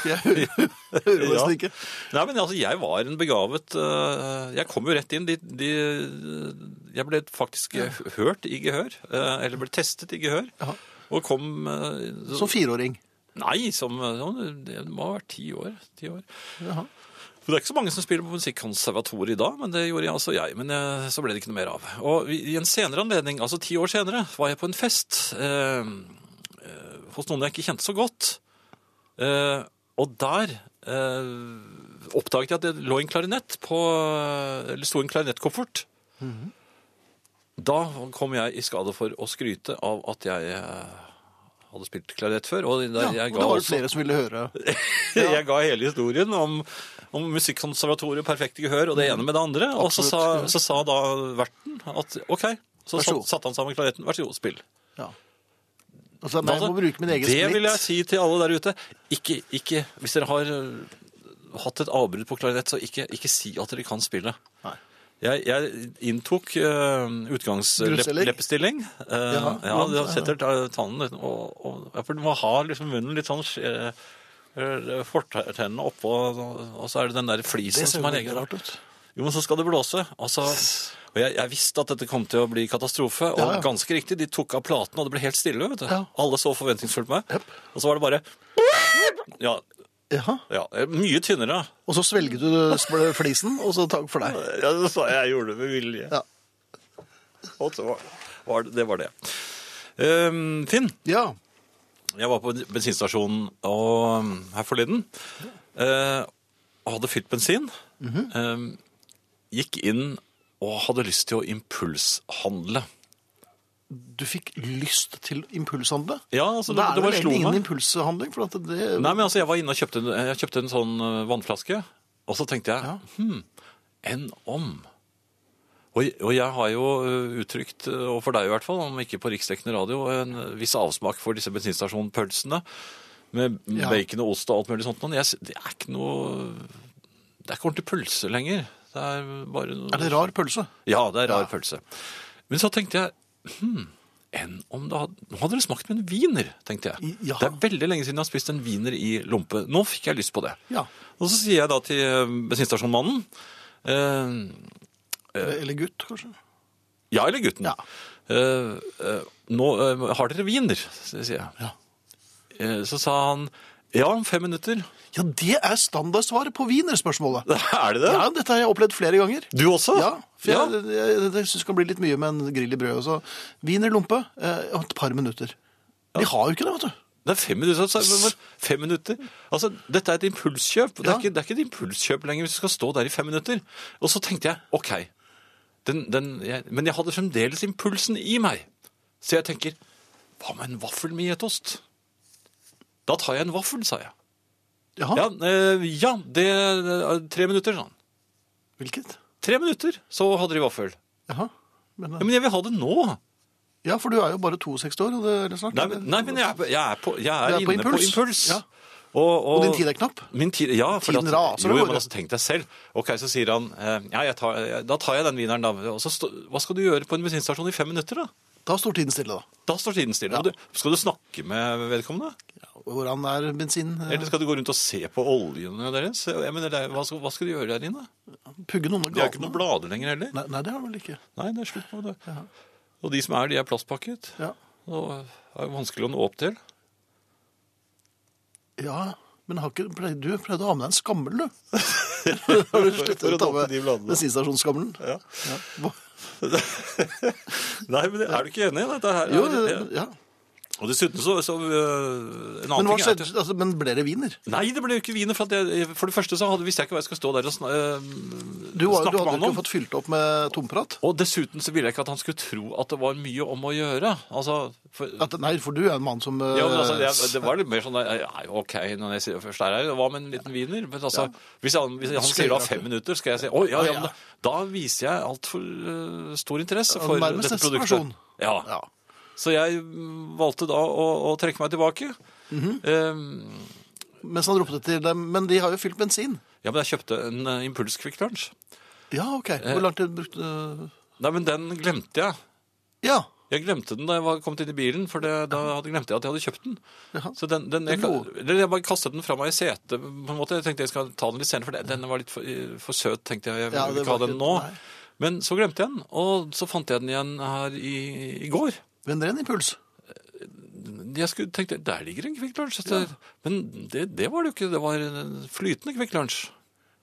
[SPEAKER 1] Jeg hører hører
[SPEAKER 2] Ja.
[SPEAKER 1] nesten ikke.
[SPEAKER 2] Nei, men altså, jeg var en begavet eh, Jeg kom jo rett inn. De, de, jeg ble faktisk hørt i gehør. eh, eller ble testet i gehør.
[SPEAKER 1] Ja.
[SPEAKER 2] Og kom eh,
[SPEAKER 1] Som fireåring.
[SPEAKER 2] Nei, som, ja, det må ha vært ti år. Ti år.
[SPEAKER 1] Jaha.
[SPEAKER 2] For Det er ikke så mange som spiller på musikkonservatoriet i dag, men det gjorde jeg altså jeg. Men eh, så ble det ikke noe mer av. Og i i en senere anledning, altså ti år senere, var jeg på en fest eh, eh, hos noen jeg ikke kjente så godt. Eh, og der eh, oppdaget jeg at det lå en klarinett på Eller sto en klarinettkoffert.
[SPEAKER 1] Mhm.
[SPEAKER 2] Da kom jeg i skade for å skryte av at jeg eh, hadde spilt klarinett før. Og der,
[SPEAKER 1] Ja,
[SPEAKER 2] jeg
[SPEAKER 1] og
[SPEAKER 2] ga
[SPEAKER 1] det var jo
[SPEAKER 2] også-
[SPEAKER 1] flere som ville høre.
[SPEAKER 2] *laughs* jeg ga hele historien om, om musikkonservatoriet, perfekt gehør og det ene med det andre. Og så sa,
[SPEAKER 1] Absolutt, ja.
[SPEAKER 2] så sa da verten at OK, så
[SPEAKER 1] Vær så god.
[SPEAKER 2] satt- satte han sammen klaretten. Vær så god, spill.
[SPEAKER 1] Ja. Altså, nei, jeg må bruke min egen
[SPEAKER 2] det vil jeg
[SPEAKER 1] splitt.
[SPEAKER 2] si til alle der ute. Ikke, ikke Hvis dere har øh, hatt et avbrudd på klarinett, så ikke, ikke si at dere kan spille.
[SPEAKER 1] Nei.
[SPEAKER 2] Jeg, jeg inntok uh,
[SPEAKER 1] Grunnstelling?
[SPEAKER 2] utgangsleppestilling. Eh, ja,
[SPEAKER 1] Jaha, hvordan-
[SPEAKER 2] det setter ta- tannen litt, og, og, ja, for Du må ha liksom munnen litt sånn eh, eh, Fortennene oppå, og så er det den der flisen
[SPEAKER 1] Det ser
[SPEAKER 2] som
[SPEAKER 1] jo
[SPEAKER 2] er
[SPEAKER 1] veldig
[SPEAKER 2] egen.
[SPEAKER 1] rart ut.
[SPEAKER 2] Jo, men så skal det blåse. Altså, Og, så, og jeg, jeg visste at dette kom til å bli katastrofe, og
[SPEAKER 1] Ja, ja.
[SPEAKER 2] ganske riktig, de tok av platen, og det ble helt stille. vet du.
[SPEAKER 1] Ja.
[SPEAKER 2] Alle så forventningsfullt på meg.
[SPEAKER 1] Jep.
[SPEAKER 2] Og så var det bare ja,
[SPEAKER 1] Jaha.
[SPEAKER 2] ja, mye tynnere.
[SPEAKER 1] Og så svelget du sp- flisen, og så takk for deg.
[SPEAKER 2] Ja, det sa jeg jeg gjorde det med vilje.
[SPEAKER 1] Ja.
[SPEAKER 2] Og så var, var det det. Var det. Ehm, Finn,
[SPEAKER 1] Ja.
[SPEAKER 2] jeg var på bensinstasjonen og, um, her forleden eh, og hadde fylt bensin. Ehm, gikk inn og hadde lyst til å impulshandle.
[SPEAKER 1] Du fikk lyst til impulshandle.
[SPEAKER 2] Ja, altså, det,
[SPEAKER 1] da er
[SPEAKER 2] det
[SPEAKER 1] det
[SPEAKER 2] bare
[SPEAKER 1] vel
[SPEAKER 2] slo
[SPEAKER 1] egentlig ingen
[SPEAKER 2] meg.
[SPEAKER 1] impulshandling, for at det
[SPEAKER 2] Nei, men altså, jeg var inne og kjøpte en, jeg kjøpte en sånn eh, vannflaske, og så tenkte jeg,
[SPEAKER 1] Ja.
[SPEAKER 2] hmm, enn om? Og, og jeg har jo eh, uttrykt, eh, og for deg i hvert fall, om ikke på riksdekkende radio, en viss avsmak for disse bensinstasjonpølsene, med
[SPEAKER 1] Ja.
[SPEAKER 2] bacon og ost og alt mulig sånt. Men jeg, s- det er ikke noe, det er ikke ordentlig pølse lenger. Det er bare noe...
[SPEAKER 1] Er det rar pølse?
[SPEAKER 2] Ja, det er rar pølse. Men så tenkte jeg, hmm, enn om det hadde... Nå hadde det smakt med en viner, tenkte jeg.
[SPEAKER 1] Ja.
[SPEAKER 2] Det er veldig lenge siden jeg har spist en viner i lompe. Nå fikk jeg lyst på det.
[SPEAKER 1] Ja.
[SPEAKER 2] Og så sier jeg da til eh, bensinstasjonmannen, eh,
[SPEAKER 1] Eller gutt, kanskje?
[SPEAKER 2] ja eller gutten,
[SPEAKER 1] Ja.
[SPEAKER 2] eh, eh, nå eh, har dere viner, sier jeg.
[SPEAKER 1] Ja.
[SPEAKER 2] Eh, Så sa han, ja, om fem minutter. *laughs*
[SPEAKER 1] Ja, det er standardsvaret på wienerspørsmålet.
[SPEAKER 2] Er det det?
[SPEAKER 1] Ja, dette har jeg opplevd flere ganger.
[SPEAKER 2] Du også?
[SPEAKER 1] Ja, for
[SPEAKER 2] Ja.
[SPEAKER 1] jeg, jeg, jeg, synes det kan bli litt mye med en grill i brød. og Så. Wienerlompe, eh, om et par minutter. De har jo ikke det, vet du.
[SPEAKER 2] Det er fem minutter. så- så- Fem minutter. Altså, dette er et impulskjøp. Det, er
[SPEAKER 1] Ja.
[SPEAKER 2] ikke, det er ikke et impulskjøp lenger hvis du skal stå der i fem minutter. Og så tenkte jeg, ok, den, den, jeg, men jeg hadde fremdeles impulsen i meg. Så jeg tenker, hva med en vaffel med getost? Da tar jeg en vaffel, sa jeg.
[SPEAKER 1] Jaha,
[SPEAKER 2] Ja, eh, ja det er tre minutter, sa han.
[SPEAKER 1] hvilket?
[SPEAKER 2] Tre minutter, så hadde de vaffel.
[SPEAKER 1] Jaha. Men,
[SPEAKER 2] Ja, men jeg vil ha det nå.
[SPEAKER 1] ja, for du er jo bare 62 år, og det er snart.
[SPEAKER 2] Nei, men, nei, men jeg, er på- jeg er, på, jeg er,
[SPEAKER 1] Du er på
[SPEAKER 2] inne på
[SPEAKER 1] impuls.
[SPEAKER 2] impuls.
[SPEAKER 1] Ja.
[SPEAKER 2] Og,
[SPEAKER 1] Og din tid er knapp.
[SPEAKER 2] Min tid, ja, for
[SPEAKER 1] Tiden
[SPEAKER 2] at,
[SPEAKER 1] raser
[SPEAKER 2] jo,
[SPEAKER 1] av
[SPEAKER 2] jo,
[SPEAKER 1] gårde.
[SPEAKER 2] men altså, tenk deg selv. Ok, så sier han, eh, ja, jeg tar, eh, da tar jeg den vineren da. Og så, stå- hva skal du gjøre på en bensinstasjon i fem minutter da?
[SPEAKER 1] Da står tiden stille, da.
[SPEAKER 2] Da står tiden stille.
[SPEAKER 1] Ja.
[SPEAKER 2] Og Du, skal du snakke med vedkommende?
[SPEAKER 1] Hvordan er bensin? eh,
[SPEAKER 2] Eller skal du gå rundt og se på oljene deres? Jeg mener, det er- hva, skal, hva skal du gjøre der inne?
[SPEAKER 1] Pugge noen med
[SPEAKER 2] Det er jo ikke noen
[SPEAKER 1] gatene?
[SPEAKER 2] blader lenger heller.
[SPEAKER 1] Nei, nei, det har du vel ikke.
[SPEAKER 2] Nei, det er slutt på det. Og de som er, de er plastpakket.
[SPEAKER 1] Ja.
[SPEAKER 2] Og det er jo vanskelig å nå opp til.
[SPEAKER 1] ja, men har ikke, ple- du pleide å ha med deg en
[SPEAKER 2] *laughs*
[SPEAKER 1] skammel, du. Har du sluttet
[SPEAKER 2] For å
[SPEAKER 1] å ta
[SPEAKER 2] nå
[SPEAKER 1] med
[SPEAKER 2] til de bladene.
[SPEAKER 1] bensinstasjonsskammelen?
[SPEAKER 2] Ja.
[SPEAKER 1] Ja. Hva-
[SPEAKER 2] *laughs* Nei, men er du ikke enig i dette her?
[SPEAKER 1] Jo,
[SPEAKER 2] er,
[SPEAKER 1] det- ja.
[SPEAKER 2] Og dessuten så, så øh, En annen
[SPEAKER 1] Men, hva
[SPEAKER 2] ting er at
[SPEAKER 1] skjedde, altså, men ble det wiener?
[SPEAKER 2] Nei, det ble jo ikke viner. For, at jeg, for det første så hadde, visste jeg ikke hva jeg skulle stå der og sna, øh,
[SPEAKER 1] Du, var, du hadde
[SPEAKER 2] snakke med
[SPEAKER 1] jo
[SPEAKER 2] han
[SPEAKER 1] ikke
[SPEAKER 2] om.
[SPEAKER 1] fått fylt opp med tomprat?
[SPEAKER 2] Og dessuten så ville jeg ikke at han skulle tro at det var mye om å gjøre. Altså, for,
[SPEAKER 1] At, nei, for du er en mann som eh,
[SPEAKER 2] ja, men altså, jeg, det var litt mer sånn der, ja, OK, når jeg sier først er her, hva med en liten wiener? Men altså, hvis han, hvis han
[SPEAKER 1] Skal jeg
[SPEAKER 2] sier da
[SPEAKER 1] gjøre
[SPEAKER 2] fem
[SPEAKER 1] det?
[SPEAKER 2] minutter, skal jeg si Å, ja, ja,
[SPEAKER 1] Ja,
[SPEAKER 2] men da, da viser jeg altfor uh, stor interesse
[SPEAKER 1] Ja,
[SPEAKER 2] for
[SPEAKER 1] nærmest
[SPEAKER 2] dette
[SPEAKER 1] desperasjon.
[SPEAKER 2] produktet. Ja.
[SPEAKER 1] Ja.
[SPEAKER 2] Så jeg mm, valgte da å, å trekke meg tilbake.
[SPEAKER 1] Mhm.
[SPEAKER 2] Eh,
[SPEAKER 1] Mens han ropte til dem Men de har jo fylt bensin.
[SPEAKER 2] ja, men jeg kjøpte en uh, Impuls Quick Lunch.
[SPEAKER 1] Ja, OK. Hvor lang tid brukte eh,
[SPEAKER 2] Nei, men den glemte jeg.
[SPEAKER 1] Ja.
[SPEAKER 2] Jeg glemte den da jeg var kommet inn i bilen, for det, da hadde, glemte jeg at jeg hadde kjøpt den.
[SPEAKER 1] Jaha.
[SPEAKER 2] Så den, den jeg,
[SPEAKER 1] Det lå-
[SPEAKER 2] eller jeg bare kastet den fra meg i setet. på en måte. Jeg tenkte jeg skal ta den litt senere, for den- den var litt for, for søt, tenkte jeg. Jeg
[SPEAKER 1] Ja, det
[SPEAKER 2] vil ikke
[SPEAKER 1] var
[SPEAKER 2] ha den
[SPEAKER 1] ikke-
[SPEAKER 2] nå.
[SPEAKER 1] nei.
[SPEAKER 2] Men så glemte jeg den, og så fant jeg den igjen her i, i går.
[SPEAKER 1] Men det er en impuls.
[SPEAKER 2] Jeg skulle, tenkte, der ligger en Kvikk Lunsj. Det- Men det, det var det jo ikke. Det var en flytende Kvikk Lunsj.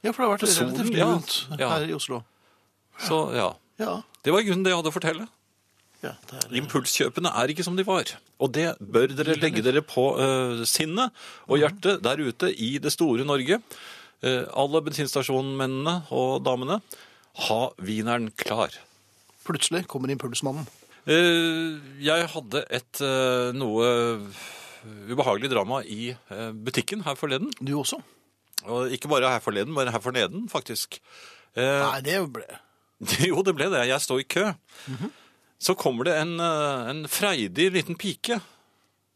[SPEAKER 1] Ja, for det har vært
[SPEAKER 2] solen,
[SPEAKER 1] relativt
[SPEAKER 2] ja.
[SPEAKER 1] lunt
[SPEAKER 2] Ja.
[SPEAKER 1] her i Oslo.
[SPEAKER 2] Så ja,
[SPEAKER 1] Ja.
[SPEAKER 2] det var i grunnen det jeg hadde å fortelle.
[SPEAKER 1] ja det er...
[SPEAKER 2] Impulskjøpene er ikke som de var, og det bør dere legge dere på eh, sinnet og hjertet der ute i det store Norge. Eh, alle bensinstasjonmennene og damene, ha wieneren klar.
[SPEAKER 1] Plutselig kommer impulsmannen.
[SPEAKER 2] Eh, jeg hadde et eh, noe ubehagelig drama i eh, butikken her forleden.
[SPEAKER 1] Du også?
[SPEAKER 2] Og ikke bare her forleden, men her forneden, faktisk. Eh,
[SPEAKER 1] Nei, det ble
[SPEAKER 2] *laughs* Jo, det ble det. Jeg står i kø. Så kommer det en, eh, en freidig liten pike.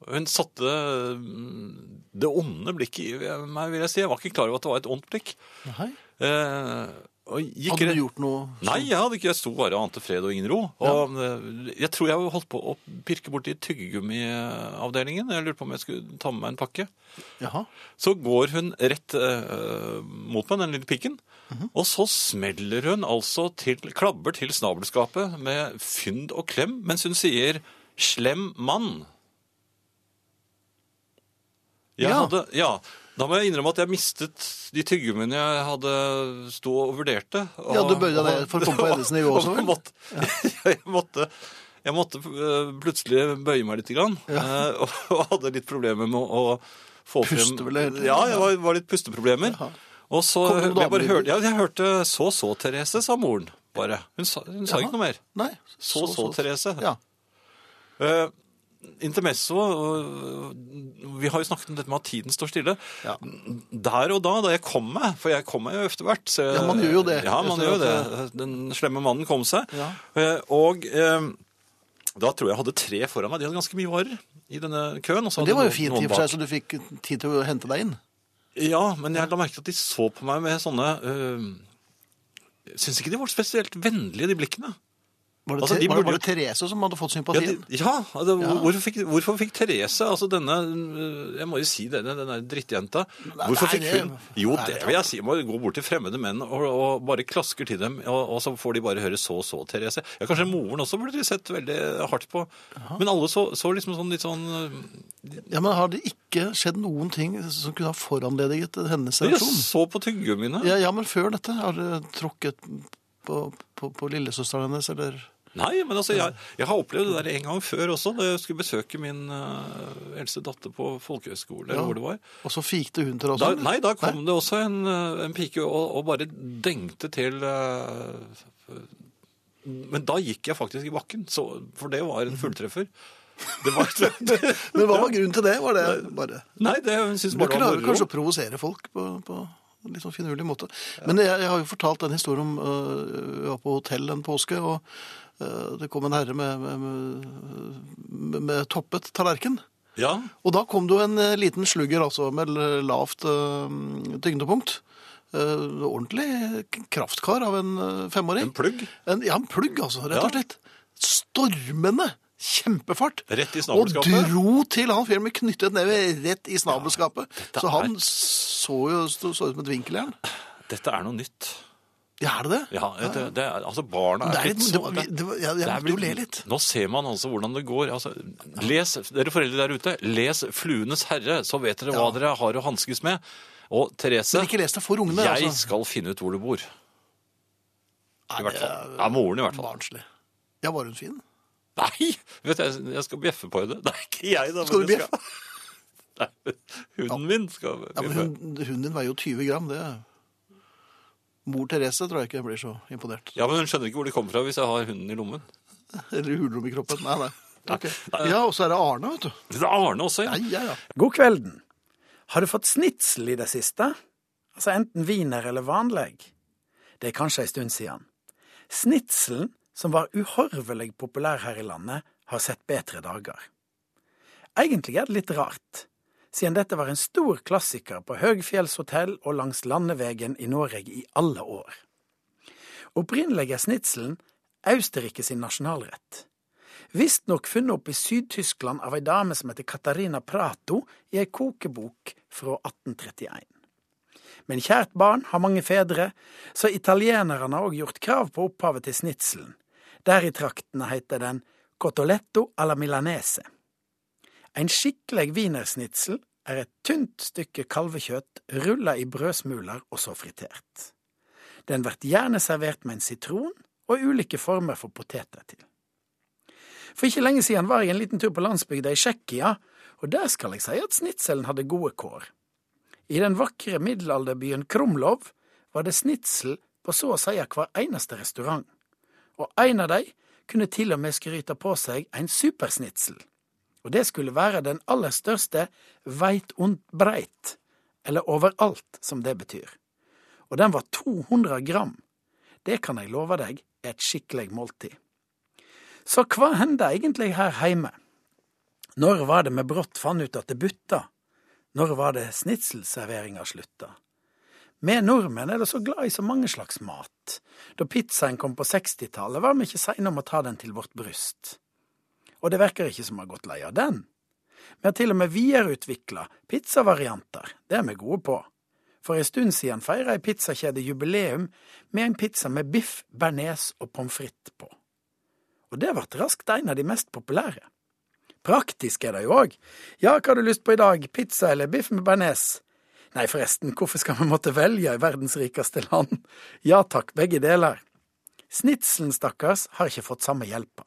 [SPEAKER 2] Hun satte mm, det onde blikket i meg, vil jeg si. Jeg var ikke klar over at det var et ondt blikk.
[SPEAKER 1] Nei.
[SPEAKER 2] Eh, og gikk
[SPEAKER 1] Hadde
[SPEAKER 2] rett-
[SPEAKER 1] du gjort sånn? noe
[SPEAKER 2] Nei, jeg hadde ikke. Jeg sto bare og ante fred og ingen ro. Og eh, Jeg tror jeg holdt på å pirke borti tyggegummiavdelingen. Jeg lurte på om jeg skulle ta med meg en pakke.
[SPEAKER 1] Jaha.
[SPEAKER 2] Så går hun rett eh, mot meg, den lille pikken,
[SPEAKER 1] Mhm.
[SPEAKER 2] og så smeller hun altså til, klabber til snabelskapet med fynd og klem, mens hun sier 'slem mann'. Jeg
[SPEAKER 1] Ja.
[SPEAKER 2] Hadde, ja. Da må jeg innrømme at jeg mistet de tyggegummiene jeg hadde stå og vurderte. Og,
[SPEAKER 1] Ja, du bøyde deg ned for å komme på hennes nivå
[SPEAKER 2] *laughs*
[SPEAKER 1] også,
[SPEAKER 2] og
[SPEAKER 1] vel?
[SPEAKER 2] måtte, jeg måtte, *laughs* jeg måtte eh, plutselig bøye meg litt, grann, eh, *laughs* og, og hadde litt problemer med å få
[SPEAKER 1] Puste
[SPEAKER 2] frem-
[SPEAKER 1] vel helt?
[SPEAKER 2] Ja, det var, var litt pusteproblemer.
[SPEAKER 1] Jaha.
[SPEAKER 2] Og så eh,
[SPEAKER 1] Kom det noen
[SPEAKER 2] jeg bare
[SPEAKER 1] damer i
[SPEAKER 2] hørte, ja, jeg hørte så så Therese, sa moren bare. Hun sa, hun sa
[SPEAKER 1] Jaha.
[SPEAKER 2] ikke noe mer.
[SPEAKER 1] Nei.
[SPEAKER 2] Så så, Therese.
[SPEAKER 1] Ja.
[SPEAKER 2] Eh, intermesso, eh, vi har jo snakket om dette med at tiden står stille.
[SPEAKER 1] Ja.
[SPEAKER 2] Der og da, da jeg kom meg, for jeg kom meg jo etter hvert. så jeg-
[SPEAKER 1] Ja, man gjør jo det.
[SPEAKER 2] Ja, man
[SPEAKER 1] Etter
[SPEAKER 2] gjør
[SPEAKER 1] at
[SPEAKER 2] jo det. Den slemme mannen kom seg.
[SPEAKER 1] Ja.
[SPEAKER 2] Eh, og eh, da tror jeg jeg hadde tre foran meg. De hadde ganske mye varer i denne køen. Og så
[SPEAKER 1] Men det
[SPEAKER 2] hadde
[SPEAKER 1] var jo
[SPEAKER 2] noen-
[SPEAKER 1] fint
[SPEAKER 2] noen
[SPEAKER 1] i og for
[SPEAKER 2] bak.
[SPEAKER 1] seg, så du fikk tid til å hente deg inn.
[SPEAKER 2] Ja, men jeg la merke til at de så på eh, meg med sånne øh, Jeg syns ikke de var spesielt vennlige, de blikkene.
[SPEAKER 1] Var det,
[SPEAKER 2] Altså, de
[SPEAKER 1] Te- var, det,
[SPEAKER 2] burde
[SPEAKER 1] var det Therese som hadde fått
[SPEAKER 2] Ja, de,
[SPEAKER 1] sympatien?
[SPEAKER 2] ja, altså, Hvorfor, fikk, hvorfor fikk Therese, altså denne øh, Jeg må jo si denne, denne drittjenta.
[SPEAKER 1] nei,
[SPEAKER 2] Hvorfor fikk hun
[SPEAKER 1] det-
[SPEAKER 2] Jo,
[SPEAKER 1] nei,
[SPEAKER 2] det
[SPEAKER 1] det-
[SPEAKER 2] vil jeg si. Må gå bort til fremmede menn og, og bare klasker til dem, og, og så får de bare høre så så Therese. Ja, kanskje moren også burde de sett veldig hardt på. Men alle så, så liksom sånn litt sånn øh,
[SPEAKER 1] Ja, men Har det ikke skjedd noen ting som kunne ha foranlediget hennes
[SPEAKER 2] De
[SPEAKER 1] reaksjon?
[SPEAKER 2] så på tyggegummiene.
[SPEAKER 1] Ja, ja, men før dette har det tråkket på, på, på lillesøsteren hennes, eller
[SPEAKER 2] Nei, men altså, jeg, jeg har opplevd det der en gang før også, da jeg skulle besøke min øh, eldste datter på folkehøyskole, eller
[SPEAKER 1] Ja.
[SPEAKER 2] hvor det var.
[SPEAKER 1] Og så fikte hun til oss?
[SPEAKER 2] Da,
[SPEAKER 1] eller?
[SPEAKER 2] nei, da kom det også en, eh, en pike og, og bare dengte til eh, Men da gikk jeg faktisk i bakken, så, for det var en
[SPEAKER 1] *laughs*
[SPEAKER 2] fulltreffer. Det var,
[SPEAKER 1] Mhm. Men hva var grunnen til det? Var det bare...
[SPEAKER 2] nei, det syns
[SPEAKER 1] Du
[SPEAKER 2] bare det var
[SPEAKER 1] klarer kanskje
[SPEAKER 2] moro.
[SPEAKER 1] å provosere folk på, på en litt sånn finurlig måte. Men jeg, jeg har jo fortalt den historien om øh, jeg var på hotell en påske, og øh, det kom en herre med, med, med, med toppet tallerken.
[SPEAKER 2] Ja,
[SPEAKER 1] Og da kom det jo en eh, liten slugger altså, med l- lavt eh, tyngdepunkt. Eh, ordentlig k- kraftkar av en eh, femåring.
[SPEAKER 2] En plugg?
[SPEAKER 1] En, ja, en plugg, altså, rett
[SPEAKER 2] Ja.
[SPEAKER 1] og slett. Stormende! Kjempefart!
[SPEAKER 2] Rett i
[SPEAKER 1] og
[SPEAKER 2] snabelskapet.
[SPEAKER 1] dro til han fyren med knyttet neve rett i snabelskapet. så han
[SPEAKER 2] er-
[SPEAKER 1] så jo så, så ut som et vinkeljern.
[SPEAKER 2] dette er noe nytt.
[SPEAKER 1] Ja, er det det?
[SPEAKER 2] Ja, det, det, er- altså Barna
[SPEAKER 1] Det
[SPEAKER 2] er,
[SPEAKER 1] er litt, det var,
[SPEAKER 2] så-
[SPEAKER 1] det var, jeg jeg
[SPEAKER 2] Det er
[SPEAKER 1] måtte jo
[SPEAKER 2] blitt-
[SPEAKER 1] le litt.
[SPEAKER 2] Nå ser man altså hvordan det går. Altså, les, dere foreldre der ute, les 'Fluenes herre', så vet dere hva dere har å hanskes med. Og Therese,
[SPEAKER 1] Men ikke les det for ungene.
[SPEAKER 2] jeg
[SPEAKER 1] altså.
[SPEAKER 2] skal finne ut hvor du bor. I
[SPEAKER 1] Nei,
[SPEAKER 2] hvert fall.
[SPEAKER 1] det er
[SPEAKER 2] Ja, moren i hvert fall.
[SPEAKER 1] Barnslig. Ja, var hun fin?
[SPEAKER 2] Nei! Vet du, jeg, jeg skal bjeffe på henne. Nei, ikke jeg, da. men
[SPEAKER 1] Skal du
[SPEAKER 2] jeg Nei, hunden min skal
[SPEAKER 1] Ja, men
[SPEAKER 2] bjeffe.
[SPEAKER 1] hun, hunden din veier jo 20 gram, det Mor Therese tror jeg ikke blir så imponert.
[SPEAKER 2] Ja, men hun skjønner ikke hvor det kommer fra hvis jeg har hunden i lommen.
[SPEAKER 1] *laughs* Eller hulrom i kroppen. Nei, nei. Ok. *laughs* Ja, og så er det Arne, vet du.
[SPEAKER 2] Det er Arne også, ja.
[SPEAKER 1] Nei, ja, ja.
[SPEAKER 5] God kvelden. Har du fått snitsel i det siste? Altså enten wiener eller vanlig? Det er kanskje ei stund siden. Snitselen, som var uhorvelig populær her i landet, har sett bedre dager. Egentlig er det litt rart, siden dette var en stor klassiker på høgfjellshotell og langs landevegen i Norge i alle år. Opprinnelig er snitselen Austerrike sin nasjonalrett visstnok funnet opp i Syd-Tyskland av ei dame som heter Katarina Prato i ei kokebok fra 1831. Men kjært barn har mange fedre, så italienerne har òg gjort krav på opphavet til snitselen. Der i traktene heter den cotoletto alla milanese. En skikkelig wienersnitsel er et tynt stykke kalvekjøtt rulla i brødsmuler og så fritert. Den blir gjerne servert med en sitron og ulike former for poteter til. For ikke lenge siden var jeg en liten tur på landsbygda i Tsjekkia, og der skal jeg si at snitselen hadde gode kår. I den vakre middelalderbyen Krumlov var det snitsel på så å si hver eneste restaurant, og en av de kunne til og med skryte på seg en supersnitsel, og det skulle være den aller største veit und breit, eller overalt, som det betyr. Og den var 200 gram. Det kan jeg love deg er et skikkelig måltid. Så hva hender egentlig her heime? Når var det vi brått fant ut at det butta? Når var det snitselserveringa slutta? Vi nordmenn er da så glad i så mange slags mat. Da pizzaen kom på 60-tallet, var vi ikke seine om å ta den til vårt bryst. Og det virker ikke som vi har gått lei av den. Vi har til og med videreutvikla pizzavarianter, det er vi gode på. For en stund siden feira ei pizzakjede jubileum med en pizza med biff, bearnés og pommes frites på og det ble raskt en av de mest populære. Praktisk er det jo òg. Ja, hva har du lyst på i dag, pizza eller biff med bearnés? Nei, forresten, hvorfor skal vi måtte velge i verdens rikeste land? Ja takk, begge deler. Snitselen, stakkars, har ikke fått samme hjelpa.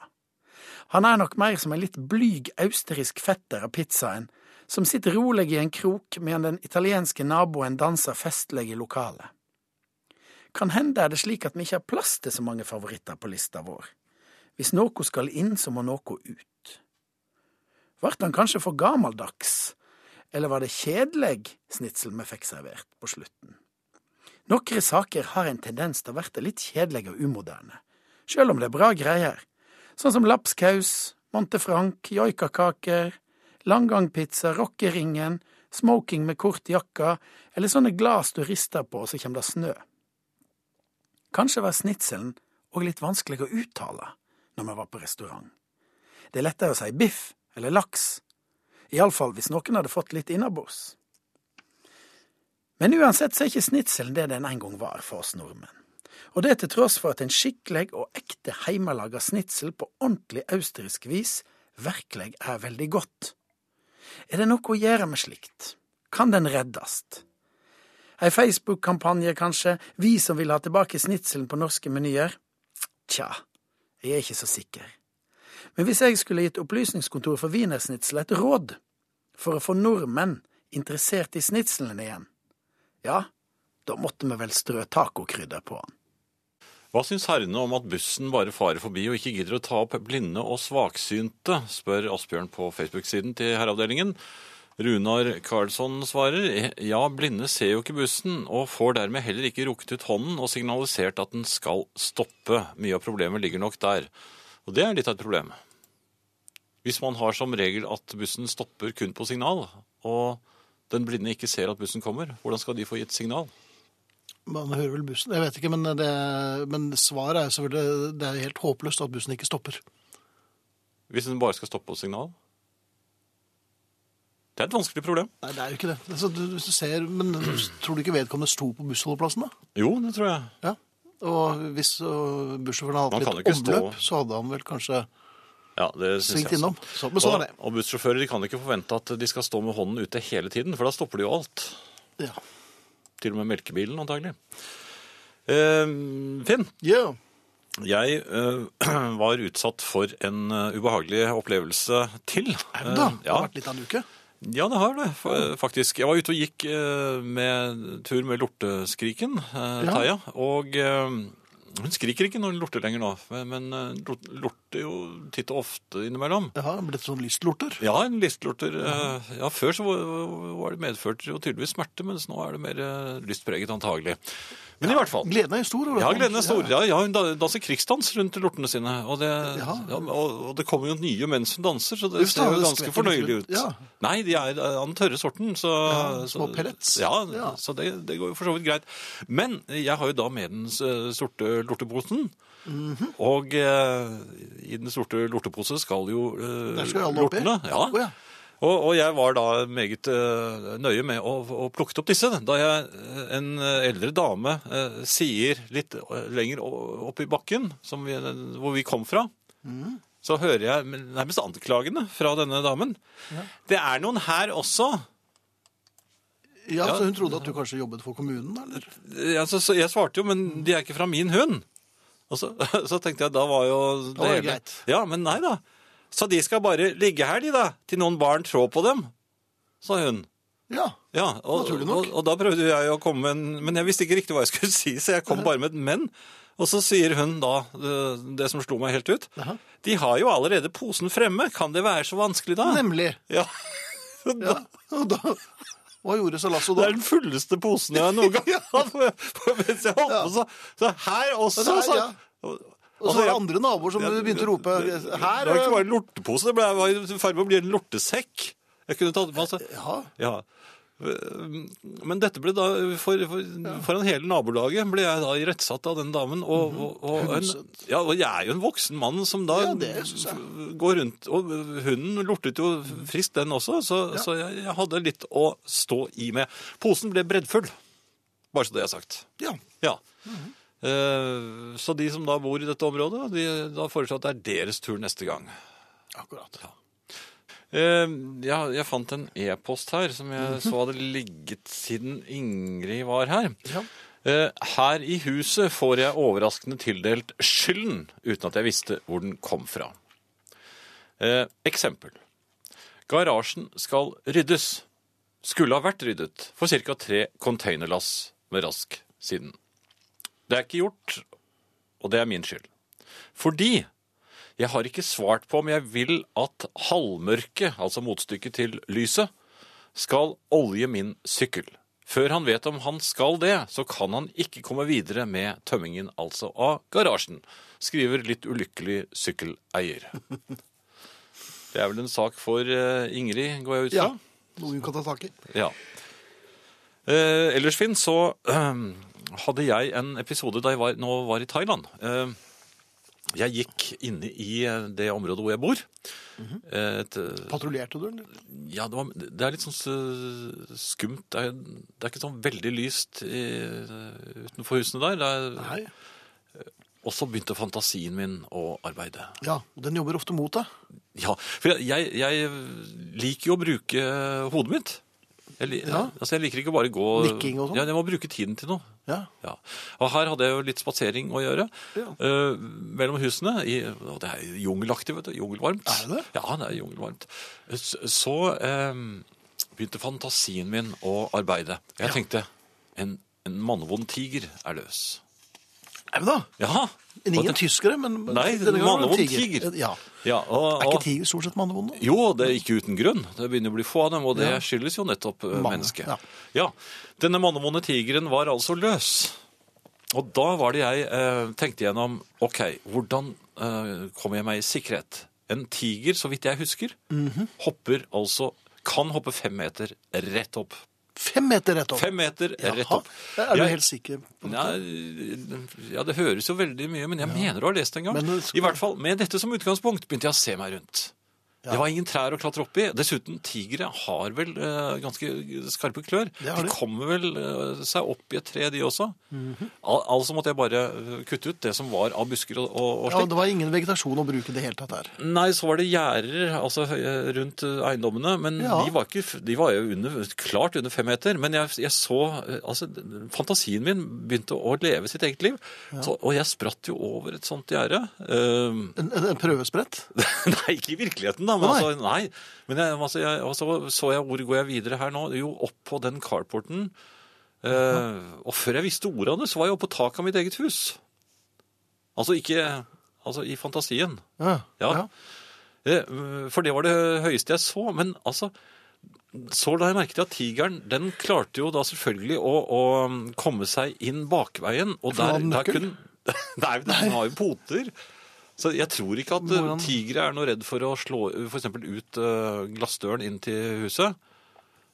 [SPEAKER 5] Han er nok mer som en litt blyg austrisk fetter av pizzaen, som sitter rolig i en krok medan den italienske naboen danser festlig i lokalet. Kan hende er det slik at vi ikke har plass til så mange favoritter på lista vår. Hvis noe skal inn, så må noe ut. Vart han kanskje for gammeldags, eller var det kjedelig snitsel vi fikk servert på slutten? Nokre saker har en tendens til å verte litt kjedelige og umoderne, sjøl om det er bra greier, sånn som lapskaus, Montefranc, joikakaker, langgangpizza, rockeringen, smoking med kort jakka, eller sånne glass du rister på og så kjem det snø. Kanskje var snitselen òg litt vanskelig å uttale, når vi var på restaurant. Det er lettere å si biff eller laks, iallfall hvis noen hadde fått litt innabords. Men uansett så er ikke snitselen det den en gang var for oss nordmenn. Og det til tross for at en skikkelig og ekte heimelaga snitsel på ordentlig austrisk vis virkelig er veldig godt. Er det noe å gjøre med slikt? Kan den reddast? Ei Facebook-kampanje, kanskje, vi som vil ha tilbake snitselen på norske menyer? Tja, jeg er ikke så sikker. Men hvis jeg skulle gitt Opplysningskontoret for wienersnitsel et råd for å få nordmenn interessert i snitselen igjen, ja, da måtte vi vel strø tacokrydder på den.
[SPEAKER 2] Hva syns herrene om at bussen bare farer forbi og ikke gidder å ta opp blinde og svaksynte, spør Asbjørn på Facebook-siden til Herreavdelingen. Runar Karlsson svarer ja, blinde ser jo ikke bussen, og får dermed heller ikke rukket ut hånden og signalisert at den skal stoppe. Mye av problemet ligger nok der. Og det er litt av et problem. Hvis man har som regel at bussen stopper kun på signal, og den blinde ikke ser at bussen kommer, hvordan skal de få gitt signal?
[SPEAKER 1] Man hører vel bussen. Jeg vet ikke, men, det, men svaret er jo selvfølgelig det er helt håpløst at bussen ikke stopper.
[SPEAKER 2] Hvis den bare skal stoppe på signal? Det er et vanskelig problem.
[SPEAKER 1] Nei, det er jo ikke det. Altså, du, hvis du ser, men tror du ikke vedkommende sto på bussholdeplassen, da?
[SPEAKER 2] Jo, det tror jeg.
[SPEAKER 1] Ja. Og hvis øh, bussjåføren hadde
[SPEAKER 2] Man
[SPEAKER 1] hatt
[SPEAKER 2] kan
[SPEAKER 1] litt
[SPEAKER 2] jo ikke stå-
[SPEAKER 1] omløp, så hadde han vel kanskje
[SPEAKER 2] Ja, det synes
[SPEAKER 1] svingt
[SPEAKER 2] jeg også.
[SPEAKER 1] innom. Så, men sånn er det.
[SPEAKER 2] Og, og bussjåfører de kan ikke forvente at de skal stå med hånden ute hele tiden, for da stopper de jo alt.
[SPEAKER 1] Ja.
[SPEAKER 2] Til og med melkebilen, antagelig. Eh, Finn,
[SPEAKER 1] Ja.
[SPEAKER 2] jeg eh, *clears throat* var utsatt for en eh, ubehagelig opplevelse til.
[SPEAKER 1] Er det da?
[SPEAKER 2] Eh,
[SPEAKER 1] Det
[SPEAKER 2] ja.
[SPEAKER 1] har vært litt av en uke.
[SPEAKER 2] Ja, det har det, fa- faktisk. Jeg var ute og gikk eh, med tur med lorteskriken, eh,
[SPEAKER 1] Ja.
[SPEAKER 2] Taja. Og eh, hun skriker ikke når hun lorter lenger nå, men- men eh, lort- lorter jo titt og ofte innimellom.
[SPEAKER 1] Det har blitt sånn lystlorter.
[SPEAKER 2] Ja, en lystlorter. eh, Ja, før så var var det medført jo tydeligvis smerte, mens nå er det mer eh, lystpreget antagelig. Men i hvert fall.
[SPEAKER 1] Gleden er jo stor. over
[SPEAKER 2] Ja,
[SPEAKER 1] dette.
[SPEAKER 2] gleden er stor. Ja, ja, hun da- danser krigsdans rundt lortene sine. Og det, ja.
[SPEAKER 1] Ja.
[SPEAKER 2] og, og det kommer jo nye mens hun danser, så det
[SPEAKER 1] Uff da,
[SPEAKER 2] ser jo
[SPEAKER 1] det
[SPEAKER 2] ganske
[SPEAKER 1] skvetter
[SPEAKER 2] fornøyelig
[SPEAKER 1] litt ut.
[SPEAKER 2] ut.
[SPEAKER 1] Ja.
[SPEAKER 2] Nei, de er eh, av den tørre sorten. Så,
[SPEAKER 1] Ja, små
[SPEAKER 2] så-
[SPEAKER 1] pellets.
[SPEAKER 2] Ja,
[SPEAKER 1] Ja.
[SPEAKER 2] så det, det går jo for så vidt greit. Men jeg har jo da med den eh, sorte lorteposen.
[SPEAKER 1] Mhm.
[SPEAKER 2] Og eh, i den sorte lortepose skal jo eh,
[SPEAKER 1] Der skal jo alle oppi.
[SPEAKER 2] lortene. Ja.
[SPEAKER 1] Å, ja.
[SPEAKER 2] Og, og jeg var da meget eh, nøye med å, å plukke opp disse, da jeg, eh, en eh, eldre dame eh, sier litt eh, lenger o- opp i bakken, som vi, hvor vi kom fra, så hører jeg nærmest anklagende fra denne damen. Det er noen her også.
[SPEAKER 1] Ja, så hun trodde at du kanskje jobbet for kommunen, da, eller?
[SPEAKER 2] Eh, Altså, så jeg svarte jo, men de er ikke fra min hund. Og så, *laughs* så tenkte jeg, da var jo det,
[SPEAKER 1] var det
[SPEAKER 2] hele-
[SPEAKER 1] greit.
[SPEAKER 2] Ja, men nei da. Så de skal bare ligge her, de da, til noen barn trår på dem, sa hun.
[SPEAKER 1] Ja.
[SPEAKER 2] Ja, og,
[SPEAKER 1] Naturlig
[SPEAKER 2] og,
[SPEAKER 1] nok.
[SPEAKER 2] og da prøvde jeg å komme med en Men jeg visste ikke riktig hva jeg skulle *laughs* si, så jeg kom bare med et men. Og så sier hun da eh, det som slo meg helt ut.
[SPEAKER 1] Jaha.
[SPEAKER 2] De har jo allerede posen fremme, kan det være så vanskelig da?
[SPEAKER 1] Nemlig. *laughs*
[SPEAKER 2] Ja. Så
[SPEAKER 1] Ja.
[SPEAKER 2] da-
[SPEAKER 1] Og da, hva gjorde Salasso
[SPEAKER 2] Det
[SPEAKER 1] da?
[SPEAKER 2] er den fulleste posen jeg noen
[SPEAKER 1] *laughs*
[SPEAKER 2] gang *laughs* har hatt. Mens jeg holdt på, så, så her
[SPEAKER 1] Ja,
[SPEAKER 2] også,
[SPEAKER 1] det er-
[SPEAKER 2] så
[SPEAKER 1] ja. Og så
[SPEAKER 2] Altså,
[SPEAKER 1] var det
[SPEAKER 2] jeg-
[SPEAKER 1] andre naboer som begynte å rope
[SPEAKER 2] Det
[SPEAKER 1] her. eh."
[SPEAKER 2] var ikke bare en lortepose, det ble, jeg var i ferd med å bli en lortesekk. Jeg kunne tatt med altså.
[SPEAKER 1] Ja.
[SPEAKER 2] Ja. Men dette ble da, for, for, foran hele nabolaget, ble jeg da irettsatt av den damen. Og, og, og, en,
[SPEAKER 1] Hundset.
[SPEAKER 2] ja, og jeg er jo en voksen mann som da
[SPEAKER 1] Mhm. Ja, det synes jeg.
[SPEAKER 2] f- går rundt Og hunden lortet jo friskt, den også, så, så jeg, jeg hadde litt å stå i med. Posen ble breddfull, bare så det er sagt.
[SPEAKER 1] ja.
[SPEAKER 2] Ja.
[SPEAKER 1] Mhm.
[SPEAKER 2] Eh, Så de som da bor i dette området, de, da foreslår jeg at det er deres tur neste gang.
[SPEAKER 1] Akkurat.
[SPEAKER 2] Eh, ja, jeg fant en e-post her som jeg så hadde ligget siden Ingrid var her.
[SPEAKER 1] Ja.
[SPEAKER 2] Eh, her i huset får jeg overraskende tildelt skylden uten at jeg visste hvor den kom fra. Eh, eksempel. Garasjen skal ryddes. Skulle ha vært ryddet for ca. tre containerlass med rask siden. Det er ikke gjort, og det er min skyld. Fordi jeg har ikke svart på om jeg vil at halvmørket, altså motstykket til lyset, skal olje min sykkel. Før han vet om han skal det, så kan han ikke komme videre med tømmingen, altså av garasjen, skriver litt ulykkelig sykkeleier. Det er vel en sak for eh, Ingrid, går jeg ut fra?
[SPEAKER 1] ja. Noe hun kan ta tak i.
[SPEAKER 2] Ja. Eh, ellers, Finn, *clears throat* så eh, hadde jeg en episode da jeg var, nå var i Thailand. Eh, Jeg gikk inne i eh, det området hvor jeg bor.
[SPEAKER 1] Mhm.
[SPEAKER 2] Et, eh,
[SPEAKER 1] Patruljerte du, eller?
[SPEAKER 2] ja, det, var, det er litt sånn s- skumt. Det er, det er ikke sånn veldig lyst i, eh, utenfor husene der. Det er,
[SPEAKER 1] Nei.
[SPEAKER 2] og så begynte fantasien min å arbeide.
[SPEAKER 1] Ja, og den jobber ofte mot deg.
[SPEAKER 2] Ja, for jeg, jeg, jeg liker jo å bruke hodet mitt. Jeg, li-
[SPEAKER 1] Ja.
[SPEAKER 2] altså, jeg liker ikke bare gå
[SPEAKER 1] Nikking og sånn?
[SPEAKER 2] Ja, jeg må bruke tiden til noe.
[SPEAKER 1] Ja.
[SPEAKER 2] Ja. Og her hadde jeg jo litt spatsering å gjøre.
[SPEAKER 1] Ja.
[SPEAKER 2] eh, mellom husene. I, og det er jungelaktig, vet du. Jungelvarmt.
[SPEAKER 1] Er det det?
[SPEAKER 2] Ja, det er jungelvarmt. Så, så eh, begynte fantasien min å arbeide. Jeg tenkte en, en mannevond tiger er løs.
[SPEAKER 1] Nei, men da.
[SPEAKER 2] Ja!
[SPEAKER 1] Men
[SPEAKER 2] Og
[SPEAKER 1] Ingen
[SPEAKER 2] det-
[SPEAKER 1] tyskere, men men
[SPEAKER 2] Nei,
[SPEAKER 1] denne gangen var det en
[SPEAKER 2] mannevond tiger.
[SPEAKER 1] Ja.
[SPEAKER 2] Ja, og,
[SPEAKER 1] Er
[SPEAKER 2] og,
[SPEAKER 1] ikke tiger stort sett mannevond? da?
[SPEAKER 2] Jo, det er ikke uten grunn. Det begynner å bli få av dem, og det
[SPEAKER 1] Ja.
[SPEAKER 2] skyldes jo nettopp eh,
[SPEAKER 1] Mannen,
[SPEAKER 2] mennesket.
[SPEAKER 1] ja.
[SPEAKER 2] Ja. Denne mannevonde tigeren var altså løs. Og da var det jeg eh, tenkte gjennom, ok, hvordan eh, kommer jeg meg i sikkerhet? En tiger, så vidt jeg husker,
[SPEAKER 1] Mhm.
[SPEAKER 2] hopper altså, kan hoppe fem meter rett opp.
[SPEAKER 1] Fem meter rett opp.
[SPEAKER 2] Fem meter rett
[SPEAKER 1] Jaha.
[SPEAKER 2] opp.
[SPEAKER 1] Er du
[SPEAKER 2] Jeg-
[SPEAKER 1] helt sikker? på det?
[SPEAKER 2] Nei, ja, det høres jo veldig mye, men jeg mener å ha lest det en gang.
[SPEAKER 1] Men det skal-
[SPEAKER 2] I hvert fall, med dette som utgangspunkt begynte jeg å se meg rundt. Det var ingen trær å klatre opp i. Dessuten, tigre har vel eh, ganske skarpe
[SPEAKER 1] har
[SPEAKER 2] klør. de.
[SPEAKER 1] de. Mhm.
[SPEAKER 2] kommer vel eh, seg opp i et tre, de også. Al altså måtte jeg bare eh, kutte ut det som var av busker og, og, og
[SPEAKER 1] Ja,
[SPEAKER 2] slikt.
[SPEAKER 1] det var ingen vegetasjon å bruke i det hele tatt her.
[SPEAKER 2] Nei, så var det gjerder altså, høye- rundt eh, eiendommene, men
[SPEAKER 1] Ja.
[SPEAKER 2] de, var ikke, f- de var jo under, klart under fem meter. Men jeg, jeg så eh, altså, Fantasien min begynte å leve sitt eget liv. Så, og jeg spratt jo over et sånt gjerde. Eh,
[SPEAKER 1] En, en, en prøvesprett?
[SPEAKER 2] *laughs* nei, ikke i virkeligheten, da. Men,
[SPEAKER 1] Nei.
[SPEAKER 2] Altså, nei. men jeg, altså, jeg, og så så jeg hvor går jeg videre her nå. Jo, opp på den carporten. Eh, og før jeg visste ordet av det, så var jeg oppe på taket av mitt eget hus. Altså ikke Altså i fantasien.
[SPEAKER 1] Ja.
[SPEAKER 2] Ja. Eh, For det var det høyeste jeg så. Men altså Så la jeg merke til at tigeren den klarte jo da selvfølgelig å, å um, komme seg inn bakveien. Og
[SPEAKER 1] For han
[SPEAKER 2] der,
[SPEAKER 1] hadde
[SPEAKER 2] der
[SPEAKER 1] nøkkel?
[SPEAKER 2] kunne *laughs* Nei, men den har jo poter. Så jeg tror ikke at eh,
[SPEAKER 1] Hvordan-
[SPEAKER 2] tigre er noe redd for å slå f.eks. ut eh, glassdøren inn til huset.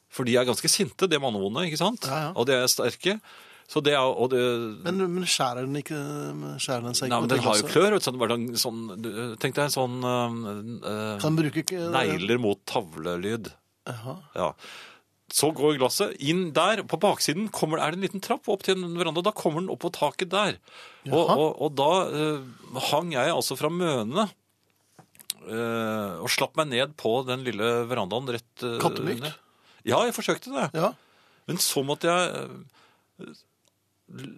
[SPEAKER 2] For de er ganske sinte, de mannevonde, ikke sant?
[SPEAKER 1] Ja, ja.
[SPEAKER 2] Og de er sterke. Så det er, og det,
[SPEAKER 1] Men, altså- men skjærer den ikke skjærer den seg ikke?
[SPEAKER 2] nei, men
[SPEAKER 1] med
[SPEAKER 2] den har jo
[SPEAKER 1] glasset?
[SPEAKER 2] klør. og Sånn, bare sånn- sånn, tenk deg en sånn eh, eh,
[SPEAKER 1] Kan den bruke ikke
[SPEAKER 2] Negler mot tavlelyd.
[SPEAKER 1] Jaha.
[SPEAKER 2] Ja. Så går glasset inn der. På baksiden kommer, er det en liten trapp opp til en veranda. Da kommer den opp på taket der. Og,
[SPEAKER 1] Jaha.
[SPEAKER 2] og, og da eh, hang jeg altså fra mønene eh, og slapp meg ned på den lille verandaen rett eh,
[SPEAKER 1] Kattemykt?
[SPEAKER 2] ned. Ja, jeg forsøkte det.
[SPEAKER 1] Ja.
[SPEAKER 2] Men så måtte jeg eh, l-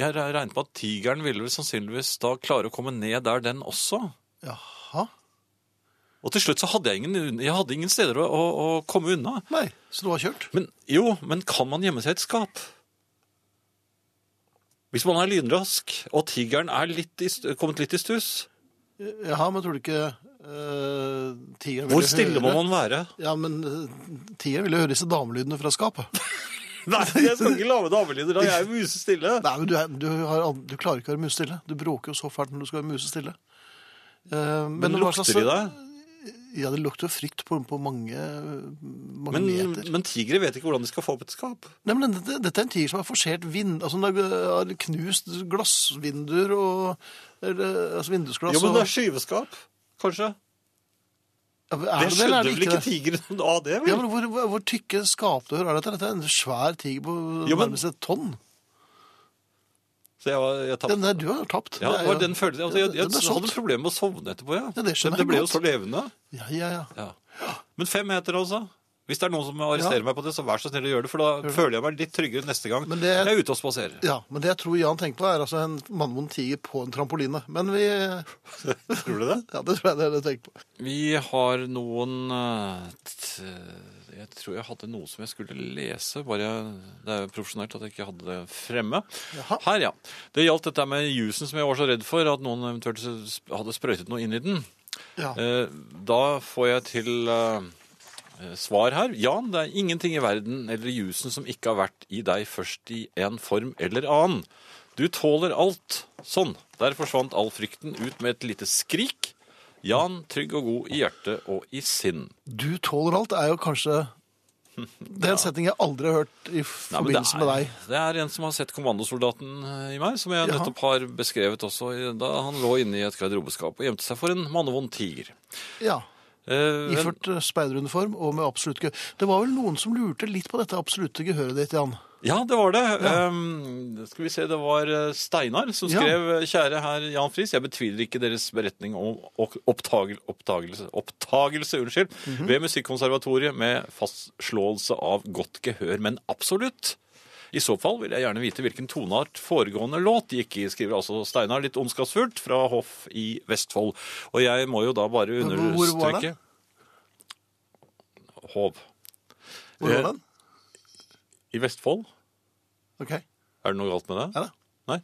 [SPEAKER 2] Jeg regnet med at tigeren ville vel sannsynligvis da klare å komme ned der, den også.
[SPEAKER 1] Jaha.
[SPEAKER 2] Og til slutt så hadde jeg ingen, jeg hadde ingen steder å, å, å komme unna.
[SPEAKER 1] Nei, så du har kjørt?
[SPEAKER 2] Men, jo, men kan man gjemme seg i et skap? Hvis man er lynrask, og tigeren er litt i, st- kommet litt i stuss,
[SPEAKER 1] Jaha, men tror du ikke uh, tigeren
[SPEAKER 2] hvor
[SPEAKER 1] ville
[SPEAKER 2] stille må
[SPEAKER 1] høre-
[SPEAKER 2] man være?
[SPEAKER 1] Ja, men eh, tigeren ville høre disse damelydene fra
[SPEAKER 2] *laughs*
[SPEAKER 1] skapet.
[SPEAKER 2] *laughs* Nei, jeg skal ikke lage damelyder, da. Jeg er musestille.
[SPEAKER 1] Nei, men du, er, du, har, al- du klarer ikke å være musestille. Du bråker jo så fælt når du skal være musestille. Eh,
[SPEAKER 2] Men
[SPEAKER 1] hva slags-
[SPEAKER 2] lukter de deg?
[SPEAKER 1] Ja, det lukter jo frykt på, på mange, mange
[SPEAKER 2] Men,
[SPEAKER 1] meter.
[SPEAKER 2] men tigre vet ikke hvordan de skal få opp et skap.
[SPEAKER 1] Nei, men dette, dette er en tiger som har forsert vind, altså den har har knust glassvinduer og eller, altså vindusglass.
[SPEAKER 2] Jo, men det er
[SPEAKER 1] og,
[SPEAKER 2] skyveskap, kanskje.
[SPEAKER 1] Ja, men er det,
[SPEAKER 2] Det
[SPEAKER 1] eller er
[SPEAKER 2] skjønner
[SPEAKER 1] det
[SPEAKER 2] vel
[SPEAKER 1] ikke
[SPEAKER 2] ikke
[SPEAKER 1] det?
[SPEAKER 2] tigeren *laughs* av det,
[SPEAKER 1] Ja,
[SPEAKER 2] vel?
[SPEAKER 1] men hvor, hvor, hvor tykke skapdør er dette? Dette er en svær tiger på
[SPEAKER 2] Jo, men-
[SPEAKER 1] nærmest et tonn.
[SPEAKER 2] Så jeg, var- jeg
[SPEAKER 1] Den
[SPEAKER 2] tapte.
[SPEAKER 1] der du har tapt.
[SPEAKER 2] Ja,
[SPEAKER 1] er
[SPEAKER 2] det var
[SPEAKER 1] jo-
[SPEAKER 2] den følelsen. Altså, jeg
[SPEAKER 1] Ja,
[SPEAKER 2] jeg
[SPEAKER 1] den er solgt.
[SPEAKER 2] hadde problemer med å sovne etterpå, ja.
[SPEAKER 1] Ja, det skjønner jeg
[SPEAKER 2] ble jo
[SPEAKER 1] godt.
[SPEAKER 2] så levende.
[SPEAKER 1] Ja, ja, ja.
[SPEAKER 2] Ja. Men fem meter, altså. Hvis det er noen som arresterer meg på det, så vær så snill å gjøre det, for da føler jeg meg litt tryggere neste gang
[SPEAKER 1] Men det-
[SPEAKER 2] jeg er ute og spaserer.
[SPEAKER 1] Ja, men det jeg tror Jan tenker på er altså en mannvond tiger på en trampoline. Men vi...
[SPEAKER 2] Tror du det?
[SPEAKER 1] Ja, det tror jeg det er det du tenker på.
[SPEAKER 2] Vi har noen eh, t- Jeg tror jeg hadde noe som jeg skulle lese, bare jeg, det er jo profesjonelt at jeg ikke hadde det fremme.
[SPEAKER 1] Jaha.
[SPEAKER 2] Her, ja. Det gjaldt dette med jusen som jeg var så redd for, at noen eventuelt sp- hadde sprøytet noe inn i den.
[SPEAKER 1] Ja.
[SPEAKER 2] Eh, Da får jeg til eh, svar her. Jan, det er ingenting i verden eller i jusen som ikke har vært i deg først i en form eller annen. Du tåler alt. Sånn. Der forsvant all frykten ut med et lite skrik. Jan, trygg og god i hjerte og i sinn. *laughs*
[SPEAKER 1] Du tåler alt er jo kanskje Det er en setning jeg aldri har hørt i
[SPEAKER 2] Nei, men det
[SPEAKER 1] forbindelse med
[SPEAKER 2] er-
[SPEAKER 1] deg.
[SPEAKER 2] Det er en som har sett kommandosoldaten eh, i meg, som jeg
[SPEAKER 1] Jaha.
[SPEAKER 2] nettopp har beskrevet også, i- da han lå inne i et garderobeskap og gjemte seg for en mannevond tiger.
[SPEAKER 1] Ja,
[SPEAKER 2] Eh, men-
[SPEAKER 1] Iført eh, speideruniform og med absolutt gehør. Det var vel noen som lurte litt på dette absolutte gehøret ditt, Jan.
[SPEAKER 2] Ja, det var det. Ehm, skal vi se, det var eh, Steinar som
[SPEAKER 1] Ja.
[SPEAKER 2] skrev eh, Kjære herr Jan Friis, jeg betviler ikke deres beretning om ok- opptagel, opptagelse, opptagelse unnskyld,
[SPEAKER 1] Mhm.
[SPEAKER 2] ved Musikkonservatoriet med fastslåelse av godt gehør, men absolutt. I så fall vil jeg gjerne vite hvilken toneart foregående låt gikk i, skriver altså Steinar litt ondskapsfullt fra Hoff i Vestfold. Og jeg må jo da bare
[SPEAKER 1] Hvor- hvor var det?
[SPEAKER 2] understryke Hov.
[SPEAKER 1] Hvor
[SPEAKER 2] Eh,
[SPEAKER 1] var den?
[SPEAKER 2] I Vestfold?
[SPEAKER 1] Ok.
[SPEAKER 2] Er det noe galt med det?
[SPEAKER 1] Ja da.
[SPEAKER 2] Nei.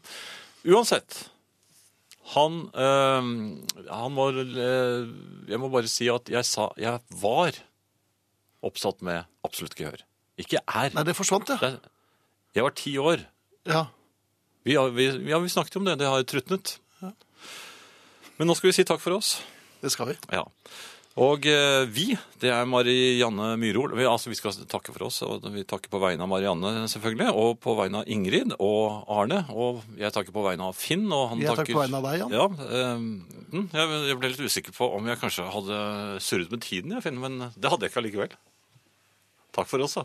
[SPEAKER 2] Uansett. Han, eh, han var eh, Jeg må bare si at jeg sa Jeg var oppsatt med absolutt gehør. Ikke er.
[SPEAKER 1] Nei, det forsvant, ja.
[SPEAKER 2] Det er- Jeg var ti år.
[SPEAKER 1] ja.
[SPEAKER 2] Vi, har- vi, ja, vi snakket om det. Det har trutnet. Men nå skal vi si takk for oss.
[SPEAKER 1] Det skal vi.
[SPEAKER 2] Ja. Og eh, vi, det er Marianne Myrhol. Vi, altså, vi skal takke for oss, og vi takker på vegne av Marianne selvfølgelig, og på vegne av Ingrid og Arne, og jeg takker på vegne av Finn, og han
[SPEAKER 1] Jeg takker
[SPEAKER 2] takker...
[SPEAKER 1] på vegne av deg, Jan.
[SPEAKER 2] Ja, eh, mm, jeg, jeg ble litt usikker på om jeg kanskje hadde surret med tiden, jeg, Finn, men det hadde jeg ikke allikevel. Takk for oss, da.